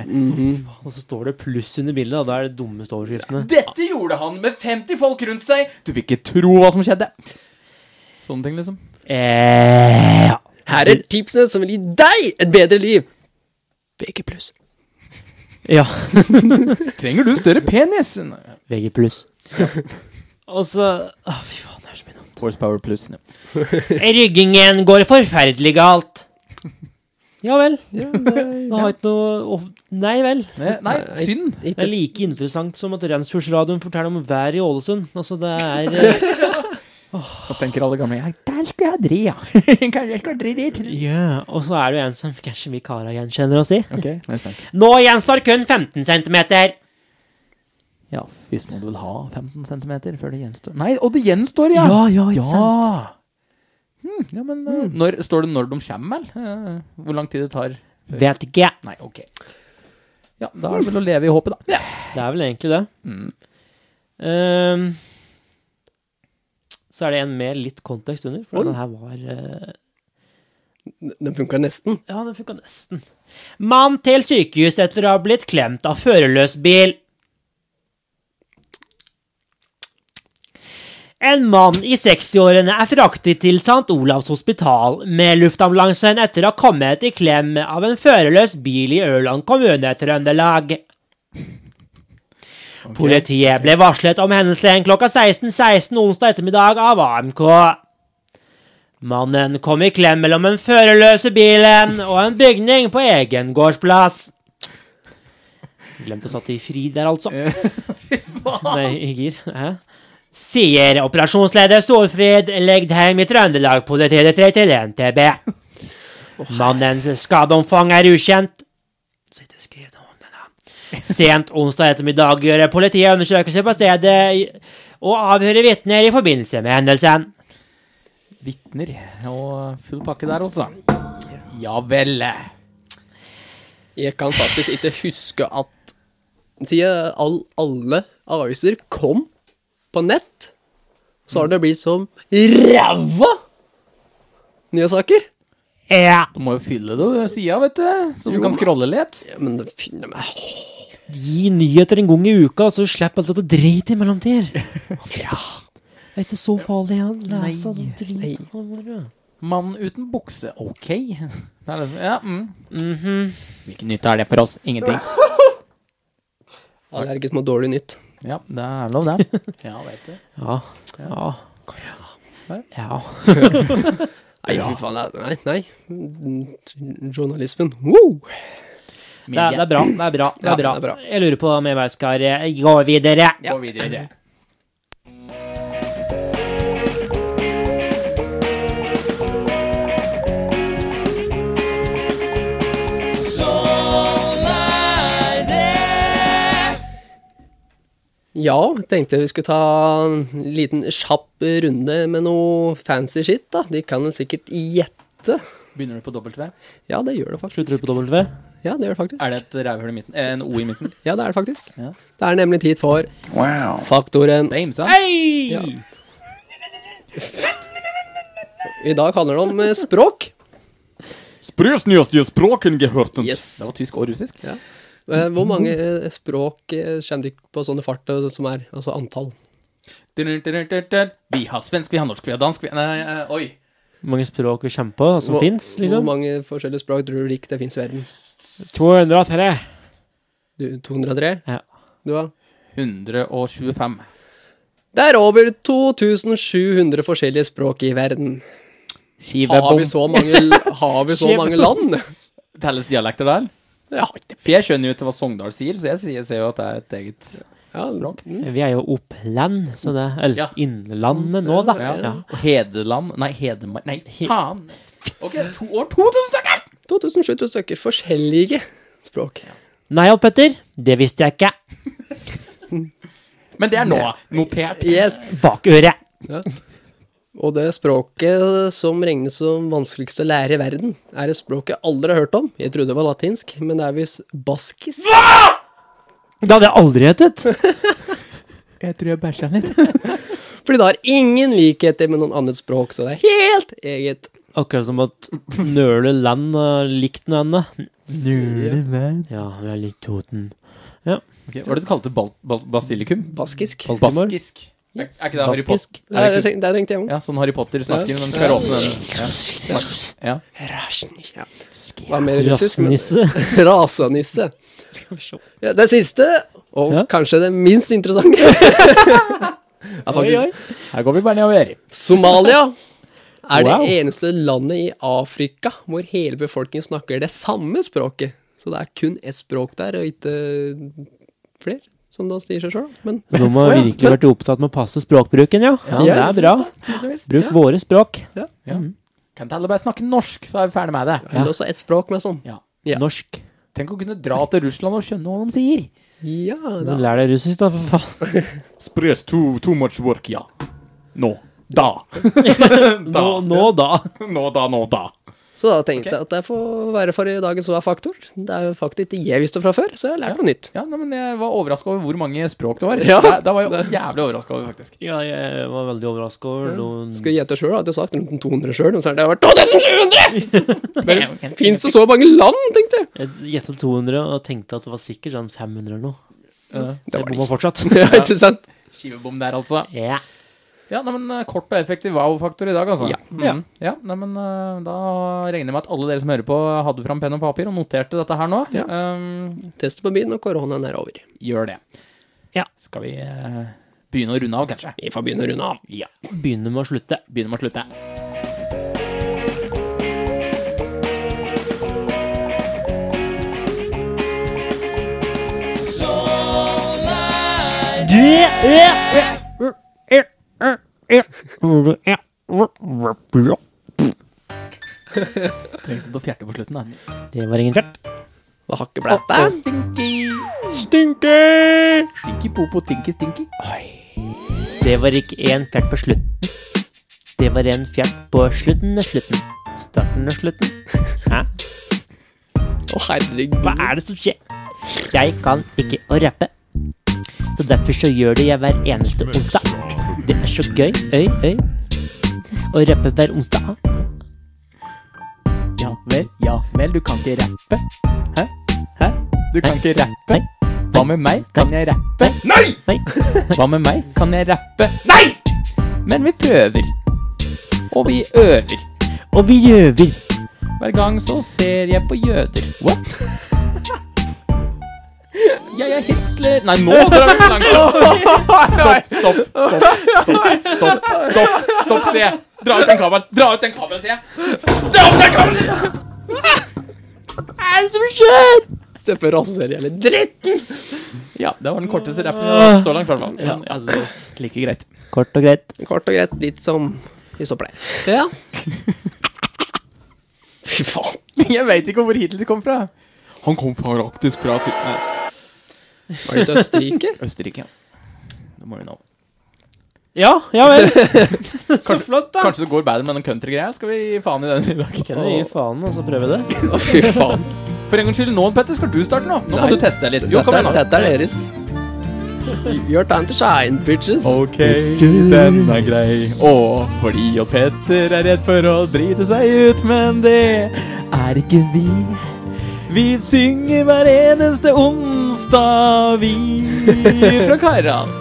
Og så står det pluss under bildet, og da er det dummeste overskriftene.
Dette gjorde han med 50 folk rundt seg! Du vil ikke tro hva som skjedde. Sånne ting, liksom.
Eh, ja.
Her er tipsene som vil gi deg et bedre liv! VG+.
ja.
Trenger du større penis? Nei.
VG pluss. Og så ah, Fy faen, det er så mye dumt.
Horsepower pluss. Ja.
Ryggingen går forferdelig galt. Ja vel.
Ja, nei,
Da har jeg ikke noe å- Nei vel.
Nei, nei,
Nei.
synd.
Det er
ikke.
like interessant som at Rensfjordsradioen forteller om været i Ålesund. Altså, det er
Da tenker alle gamle «Ja, Der skulle jeg dri, ja. Kanskje jeg skal dri dit.
eh, Ja. Og så er det jo en som kanskje vi kara gjenkjenner oss i.
Ok, nå er jeg spent.
Nå gjenstår kun 15 cm.
Ja, hvis må du vel ha 15 cm før det gjenstår Nei, og det gjenstår, ja!
Ja, ja, ikke
sant? Hm, ja, men eh, når, står det når de kommer, eller? Eh, Hvor lang tid det tar?
Vet ikke.
Nei, ok. Ja, da er det vel å leve i håpet, da.
Det er vel egentlig det.
Mm.
Ehm, så er det en med litt kontekst under, for
Oi.
den her var eh,
Den funka nesten.
Ja, den funka nesten. Mann til sykehus etter å ha blitt klemt av førerløs bil. En mann i 60-årene er fraktet til St. Olavs hospital med luftambulansen etter å ha kommet i klem av en førerløs bil i Ørland kommune, Trøndelag. Politiet ble varslet om hendelsen klokka 16.16 onsdag ettermiddag av AMK. Mannen kom i klem mellom den førerløse bilen og en bygning på egen gårdsplass. Glemte å satt i fri der, altså. Nei, i gir. Hæ? Sier operasjonsleder Solfrid Legdheim i Trøndelag politidistrikt til NTB. Mannens skadeomfang er ukjent. Så ikke skrev noe om det, da. Sent onsdag ettermiddag gjør politiet undersøkelse på stedet i- og avhører vitner i forbindelse med hendelsen.
Vitner og full pakke der, altså. Ja vel.
Jeg kan faktisk ikke huske at Siden all, alle aviser kom på nett, så har det blitt som ræva nyhetssaker.
Ja.
Du må jo fylle det sida, vet du. Så du kan scrolle litt.
Ja, men det finner meg
Gi nyheter en gang i uka, så slipper alt dette dritet i mellomtid. Ja. Det er ikke så farlig å lese
Nei,
den
nei.
driten. vår.
Mann uten bukse, ok. Det er liksom, ja, mm.
Mhm.
Hvilken nytte er det for oss? Ingenting.
allergisk mot dårlig nytt.
Ja, det er lov, det. Ja, vet du.
Ja. Ja. Ja.
Nei, fy faen. Nei, nei. Mm, Journalismen. Wow!
Det, er, det er bra. Det er bra. Det
Ja,
er bra.
det er bra.
Jeg lurer på om jeg bare skal eh, gå videre.
Gå videre.
Thank
Ja, tenkte vi skulle ta en liten kjapp runde med noe fancy shit, da. De kan jo sikkert gjette.
Begynner du på W?
Ja, det gjør det faktisk.
Slutter du på W?
Ja, det gjør det faktisk.
Er det et rævhull i midten? Eh, en O i midten?
Ja, det er det faktisk.
Ja.
Det er nemlig tid for
Wow.
faktoren.
Dame, sant?
Hei!
Ja. I dag handler det om eh, språk. Yes.
Det var tysk og russisk.
Eh, Hvor mange eh, språk eh, kommer du på sånne fart eh, som er, altså antall?
Vi har svensk, vi har norsk, vi har dansk vi... Nei, eh, oi.
Hvor mange språk vi kommer på som
Hvor-
fins,
Hvor
liksom?
mange forskjellige språk tror du ikke det fins i verden?
203.
Du, 203?
Ja.
Du har?
125.
Det er over 2700 forskjellige språk i verden. Har vi sånn? så mange, har vi så mange land?
Telles dialekter der?
Ja,
For jeg skjønner jo ikke hva Sogndal sier, så jeg sier, ser jo at det er et eget
ja,
språk.
Vi er jo Oppland, så det Eller
Ja.
Innlandet nå, da.
Ja.
Ja.
Hedeland Nei, Hedemar... Nei, faen! Ok, to år 2000 stykker!
2700 stykker forskjellige språk.
Nei, Odd Petter, det visste jeg ikke.
Men det er nå notert.
Yes.
Bakøret.
Ja. Og det språket som regnes som vanskeligst å lære i verden, er et språk jeg aldri har hørt om. Jeg trodde det var latinsk, men det er visst baskisk.
Det hadde jeg aldri hetet.
Jeg tror jeg bæsja litt.
Fordi det har ingen likheter med noen annet språk, så det er helt eget.
Akkurat som at nøle land er likt noe annet. Nøle land? Ja, vi er likt Toten.
Hva var det du kalte det? Bal bal basilikum?
Baskisk.
Baltimore?
Baskisk? Er, er
Yes.
ikke det Harry Potter?
Baskisk.
Det
Er det ikke,
tenkte jeg om.
ja, sånn Harry Potter snakker når de skal åpne den. Ja. Ja.
Ja. Hva er mer russisk? men-
Rassnisse.
Rasanisse. Ja, det siste, og
Ja.
kanskje det minst interessante er faktisk
Her går vi bare nedover.
Somalia er det
Wow.
eneste landet i Afrika hvor hele befolkningen snakker det samme språket. Så det er kun ett språk der, og ikke eh, flere, som det sier seg sjøl. Men
De har virkelig vært opptatt med å passe språkbruken, ja. ja det
Yes.
er bra.
tydeligvis.
Bruk våre språk.
Ja. Kan alle bare snakke norsk, så er vi ferdig med det.
det er også ett språk med sånn.
Ja.
Ja.
Norsk.
Tenk å kunne dra til Russland og skjønne hva de sier.
Ja, da.
Men lær deg russisk, da, for faen.
Spres too, too much work, ja. Nå. Da.
Nå, nå da.
Nå, da, nå, da.
Så da tenkte jeg at det får være for i dagens hva er faktor. Det er jo faktisk ikke jeg visste fra før, så jeg har lært noe nytt.
Ja, nei, men Jeg var overraska over hvor mange språk det var.
Ja.
Da, da var jeg jævlig overraska over, faktisk.
Ja, jeg var veldig overraska over noen
Skal jeg gjette sjøl, hadde jeg sagt rundt 200 sjøl, og så har det vært 2700! Men fins det så mange land, tenkte jeg!
Jeg gjetta 200 og tenkte at det var sikkert sånn 500 eller noe. Så
Det
jeg
var det
bomma
ikke.
fortsatt.
Ja, ikke sant?
Skivebom der, altså.
Ja.
Ja, nei, men eh, Kort og effektiv wow-faktor i dag, altså.
Ja.
Mm. ja nei, men eh, Da regner jeg med at alle dere som hører på, hadde fram penn og papir og noterte dette her nå.
Ja.
Um,
Testet på byen, og koronaen er over.
gjør det.
Ja.
Skal vi eh, begynne å runde av, kanskje?
Vi får begynne å runde av.
Ja.
Begynner med å slutte.
Begynner med å slutte. Trengte å fjerte på slutten, da.
Det var ingen fjert.
Hva har ikke blitt der?
Stinky!
Stinker!
Stinky popo, stinky stinky.
Det var ikke én fjert på slutten. Det var en fjert på slutten av slutten. Starten av slutten. Hæ?
Å, herregud.
Hva er det som skjer? Jeg kan ikke å rappe. Så derfor så gjør det jeg hver eneste onsdag. Det er så gøy, øy, øy. Å rappe hver onsdag.
Ja vel, ja vel, du kan ikke rappe. Hæ? Hæ? Du kan ikke rappe. Hva med meg? Kan jeg rappe? Nei!
Nei.
Hva med meg? Kan jeg rappe? Nei! Men vi prøver. Og vi øver.
Og vi gjøver.
Hver gang så ser jeg på jøder. What? Jeg er Hitler Nei, nå drar vi langt. Stopp, stopp, stopp. Stopp, stopp, stopp, stopp sier jeg. Dra ut den kabelen. Dra ut den kabelen, sier jeg. Dra ut den kabelen!
Hva er det som skjer?
Steffen raser hele dritten!
Ja, det var den korteste rappen jeg har hatt så langt. i hvert fall.
Ja,
Ja, altså, like greit.
Kort og greit.
Kort og greit, litt som vi så pleier. Ja. Fy faen.
Jeg veit ikke hvor Hitler kom fra. Han kom faktisk fra
Var det ikke Østerrike?
Østerrike. Det må vi nå.
Ja, ja vel. Så flott, da.
Kanskje det går bedre med den country-greia? Skal vi gi faen i den i dag?
Kan jeg gi faen og så prøve det?
Å, fy faen.
For en gangs skyld, nå, Petter, skal du starte nå. Nå
Nei.
må du teste deg litt. Jo,
Dette
kom
er,
igjen nå.
dette er deres. Your time to shine, bitches.
Ok, den er grei. Og fordi og Petter er redd for å drite seg ut, men det er ikke vi. Vi synger hver eneste onsdag, vi fra Kairan.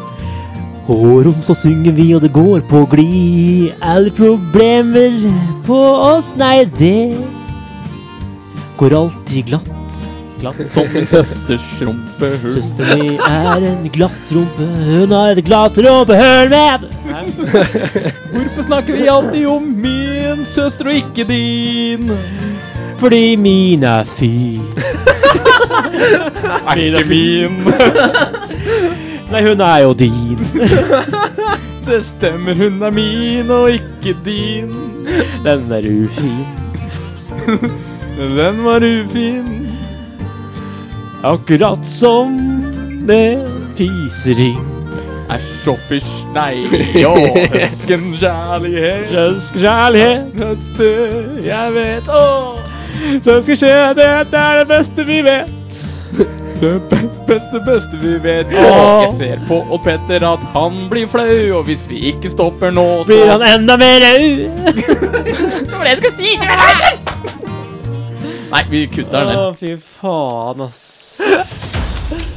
Hårom så synger vi, og det går på glid. Alle problemer på oss, nei, det går alltid glatt.
Glatt som min søsters rumpehull.
Søster mi er en glatt rumpe, hun har et glatt rumpehull med
Hvorfor snakker vi alltid om min søster og ikke din?
Fordi min er fin.
Er ikke min.
Nei, hun er jo din.
Det stemmer, hun er min og ikke din.
Den er ufin.
Den var ufin.
Akkurat som det fisering.
Æsj og fysj, nei, jo, søskenkjærlighet.
Kjønnskjærlighet.
Neste, jeg vet, åh,
Søskenkjærlighet er det beste vi vet.
det beste, beste, beste vi vet. Åh, jeg ser på Odd Petter at han blir flau, og hvis vi ikke stopper nå, så
Blir han enda mer rød?
Nei, vi kutter den.
Å, fy faen, ass.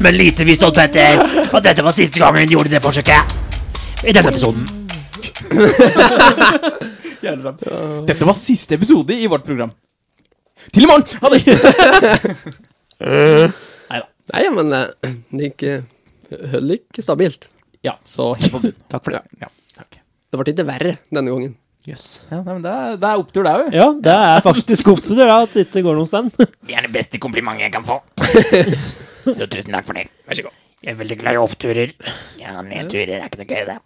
Men lite visste Odd Petter at dette var siste gangen hun gjorde det forsøket. I denne episoden.
Dette var siste episode i vårt program. Til i morgen! Ha det!
Nei, men eh, det gikk eh, Høll gikk stabilt.
Ja, så helt på bunn. Takk for det. Ja, takk.
Det ble ikke verre denne gangen.
Yes.
Ja, nei, men det er, det er opptur, det òg.
Ja, det er faktisk opp til dere at det ikke går noen sted.
Det er det beste komplimentet jeg kan få. Så tusen takk for det. Vær så god. Jeg er veldig glad i oppturer. Ja, nedturer er ikke noe gøy, det.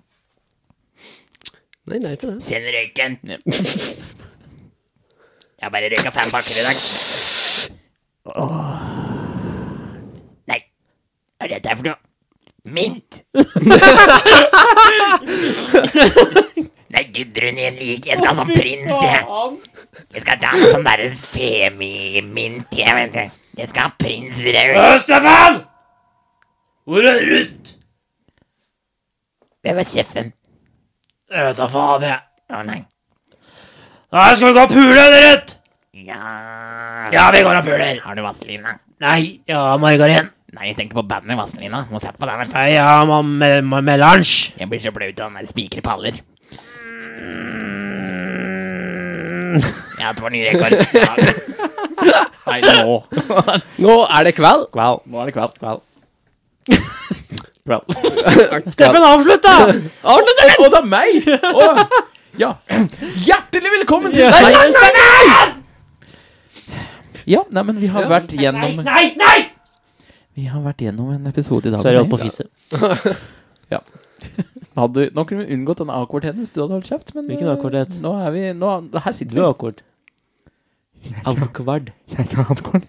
Nei, det er ikke det.
Send røyken. Jeg bare røyka fem pakker i dag. Nei, hva er dette her for noe? Mint! Nei, Gudrun, jeg liker Jeg skal ha sånn prins, jeg. Jeg skal ta en sånn derre femi-mint, jeg, vet du. Jeg skal ha prins Raul.
Stefan! Hvor er Ruth?
Hvem er sjefen?
Jeg vet da faen, jeg.
Å, nei.
Nei, skal vi gå og pule, eller, Ruth?
Ja
Ja, vi går og puler.
Har du Vazelina?
Nei, ja, margarin.
Nei, jeg tenker på bandet Vazelina. Må sette på den, vet du.
Nei, ja, mam- mam- melange.
Jeg blir så blaut av den der spikre paller.
Mm.
Ja, det var ny rekord. Ja.
Nei, nå.
Nå er det kveld.
Kval.
Nå er det kveld. kveld.
Steffen, avslutt, da!
Å, det er meg! Å, ja. Hjertelig velkommen til
Nei,
deg!
nei, nei, nei!
Ja, nei, men vi har vært gjennom
Nei, nei!
Vi har vært gjennom en episode i dag.
Så er jeg holdt på å fise.
Hadde, nå kunne vi unngått den A-kvarteten hvis du hadde holdt kjeft, men
Hvilken A-kvartet?
eh, Nå er vi nå, Her sitter
Du
vi.
er akkord. Avkvard.
Jeg kan ha A-kvarten.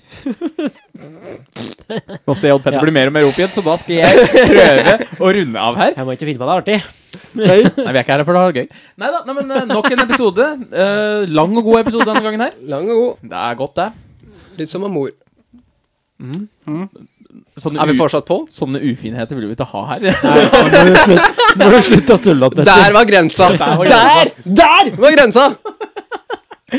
Nå ser jeg at Petter blir mer og mer oppgitt, så da skal jeg prøve å runde av her.
Jeg må ikke finne på det artig.
Nei, vi er ikke her for å ha det gøy. Nei da, nei, men eh, nok en episode. Eh, lang og god episode denne gangen her.
Lang og god.
Det er godt, det.
Litt som en mor.
Sånne,
Er vi
u
fortsatt på?
sånne ufinheter vil vi ikke ha her.
Nå må du slutte å tulle opp dette.
Der var grensa!
Der var
Der!
grensa.
Der var grensa!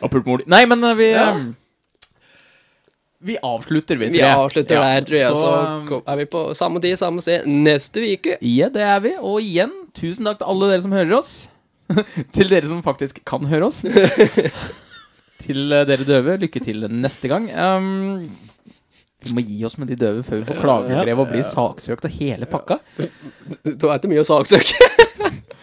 Og pulpemor. Nei, men eh, vi eh, Vi avslutter, vi, tror
Vi
jeg.
avslutter
Ja,
der, tror jeg. Så
eh,
kom- er vi på samme tid, samme sted neste uke.
Ja, det er vi. Og igjen, tusen takk til alle dere som hører oss. til dere som faktisk kan høre oss. til eh, dere døve, lykke til neste gang. Um, vi må gi oss med de døve før vi får klagebrev og blir saksøkt og hele pakka.
Da er det mye å saksøke.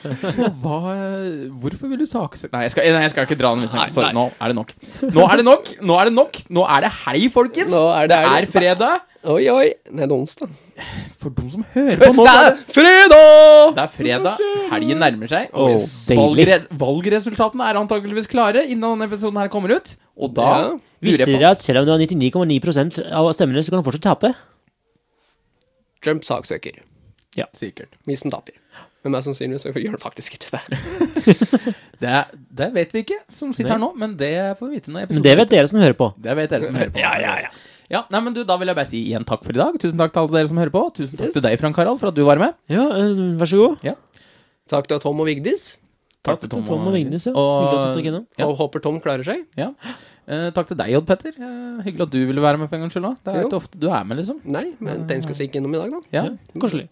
Så hva eh, Hvorfor vil du saksøke Nei, jeg skal, nei, jeg skal ikke dra den vitsen. Sorry, nå er det nok. Nå er det nok! Nå er det nok! Nå er det hei, folkens!
Nå er det
Det er fredag.
Oi, oi. Nei, det er onsdag.
For de som hører på nå, så
Det
er
er
det,
fredag!
det er fredag. Helgen nærmer seg.
Åh,
Valgre valgresultatene er antakeligvis klare innen denne episoden her kommer ut. Og da
Ja.
lurer
Visste
jeg
dere
på
at selv om du har 99,9 av stemmene, så kan du fortsatt tape?
Trump saksøker.
Sikkert.
Hvis han taper. Men mest sannsynlig så gjør han faktisk ikke det.
Det, er- det vet vi ikke, som sitter her nå, men det får vi vite når episoden
Men det vet dere som hører på.
Det vet dere som hører på.
Ja, ja, ja.
Ja, nei, men du, Da vil jeg bare si igjen takk for i dag. Tusen takk til alle dere som hører på. Tusen takk
Yes.
til deg, Frank Harald, for at du var med.
Ja, eh, vær så god.
Takk til Tom og Vigdis.
Takk,
til Tom og Vigdis, ja. Hyggelig at du stakk
Og,
innom.
Ja.
Og håper Tom klarer seg.
ja. Eh, takk til deg, Odd Petter. Eh, hyggelig at du ville være med for en gangs skyld òg. Det er jo
Jo.
ikke ofte du er med, liksom.
Nei, men den skal stikke innom i dag, da.
Ja.
Ja, Koselig.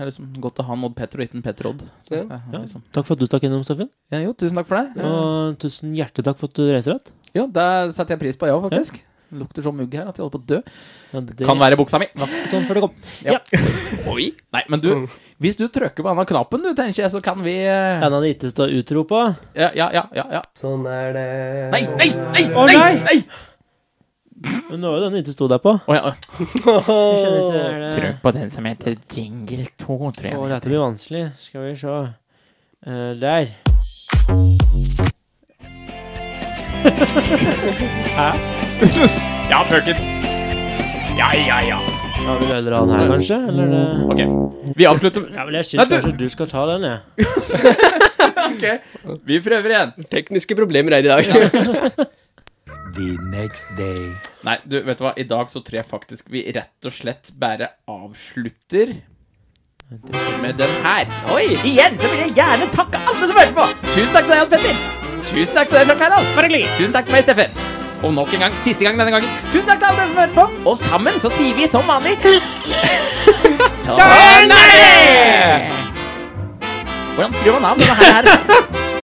Det er liksom godt å ha en Odd Petter og ikke en Petter Odd. Så,
Ja.
det er
Ja.
liksom.
Takk for at du stakk innom, Steffen.
ja, jo, tusen takk for det. Eh,
Og tusen hjertelig takk for at du reiser igjen.
Jo, det setter jeg pris på, jeg òg, faktisk. Lukter så mugg her at jeg holder på å dø.
Ja, Mm. det-
Kan være buksa mi.
Sånn før det kom.
Ja.
Ja.
Oi!
Nei, men du, hvis du trykker på denne knappen, du, tenker jeg, så kan vi eh,
En av de ytterste har utropa.
Ja, ja, ja. ja, ja.
Sånn er det
Nei, nei, nei!
Å,
nei,
nei!
nei!
Men nå var jo den ikke sto der på.
Å, ja.
Jeg kjenner ikke er det
Trykk på den som heter Jingle 2, tror jeg.
Å, dette blir vanskelig. Skal vi se. Eh, der.
Ja, pøken. Ja, ja, ja.
Ja, vil du heller ha den her, kanskje? Eller er det
Ok, vi avslutter.
Ja, vel, jeg
Nei,
syns
du-
kanskje du skal ta den, jeg.
Vi prøver igjen.
Tekniske problemer her i dag.
the next day.
Nei, du, vet du hva? I dag så tror jeg faktisk vi rett og slett bare avslutter med den her. Oi! Igjen så vil jeg gjerne takke alle som hørte på. Tusen takk til deg, Jan Petter. Tusen takk til deg, Frank Harald. Bare hyggelig. Tusen takk til meg, Steffen. Og nok en gang, siste gang denne gangen, tusen takk til alle dere som hørte på. Og sammen så sier vi som vanlig Sånn er det! Hvordan skrur man av denne her?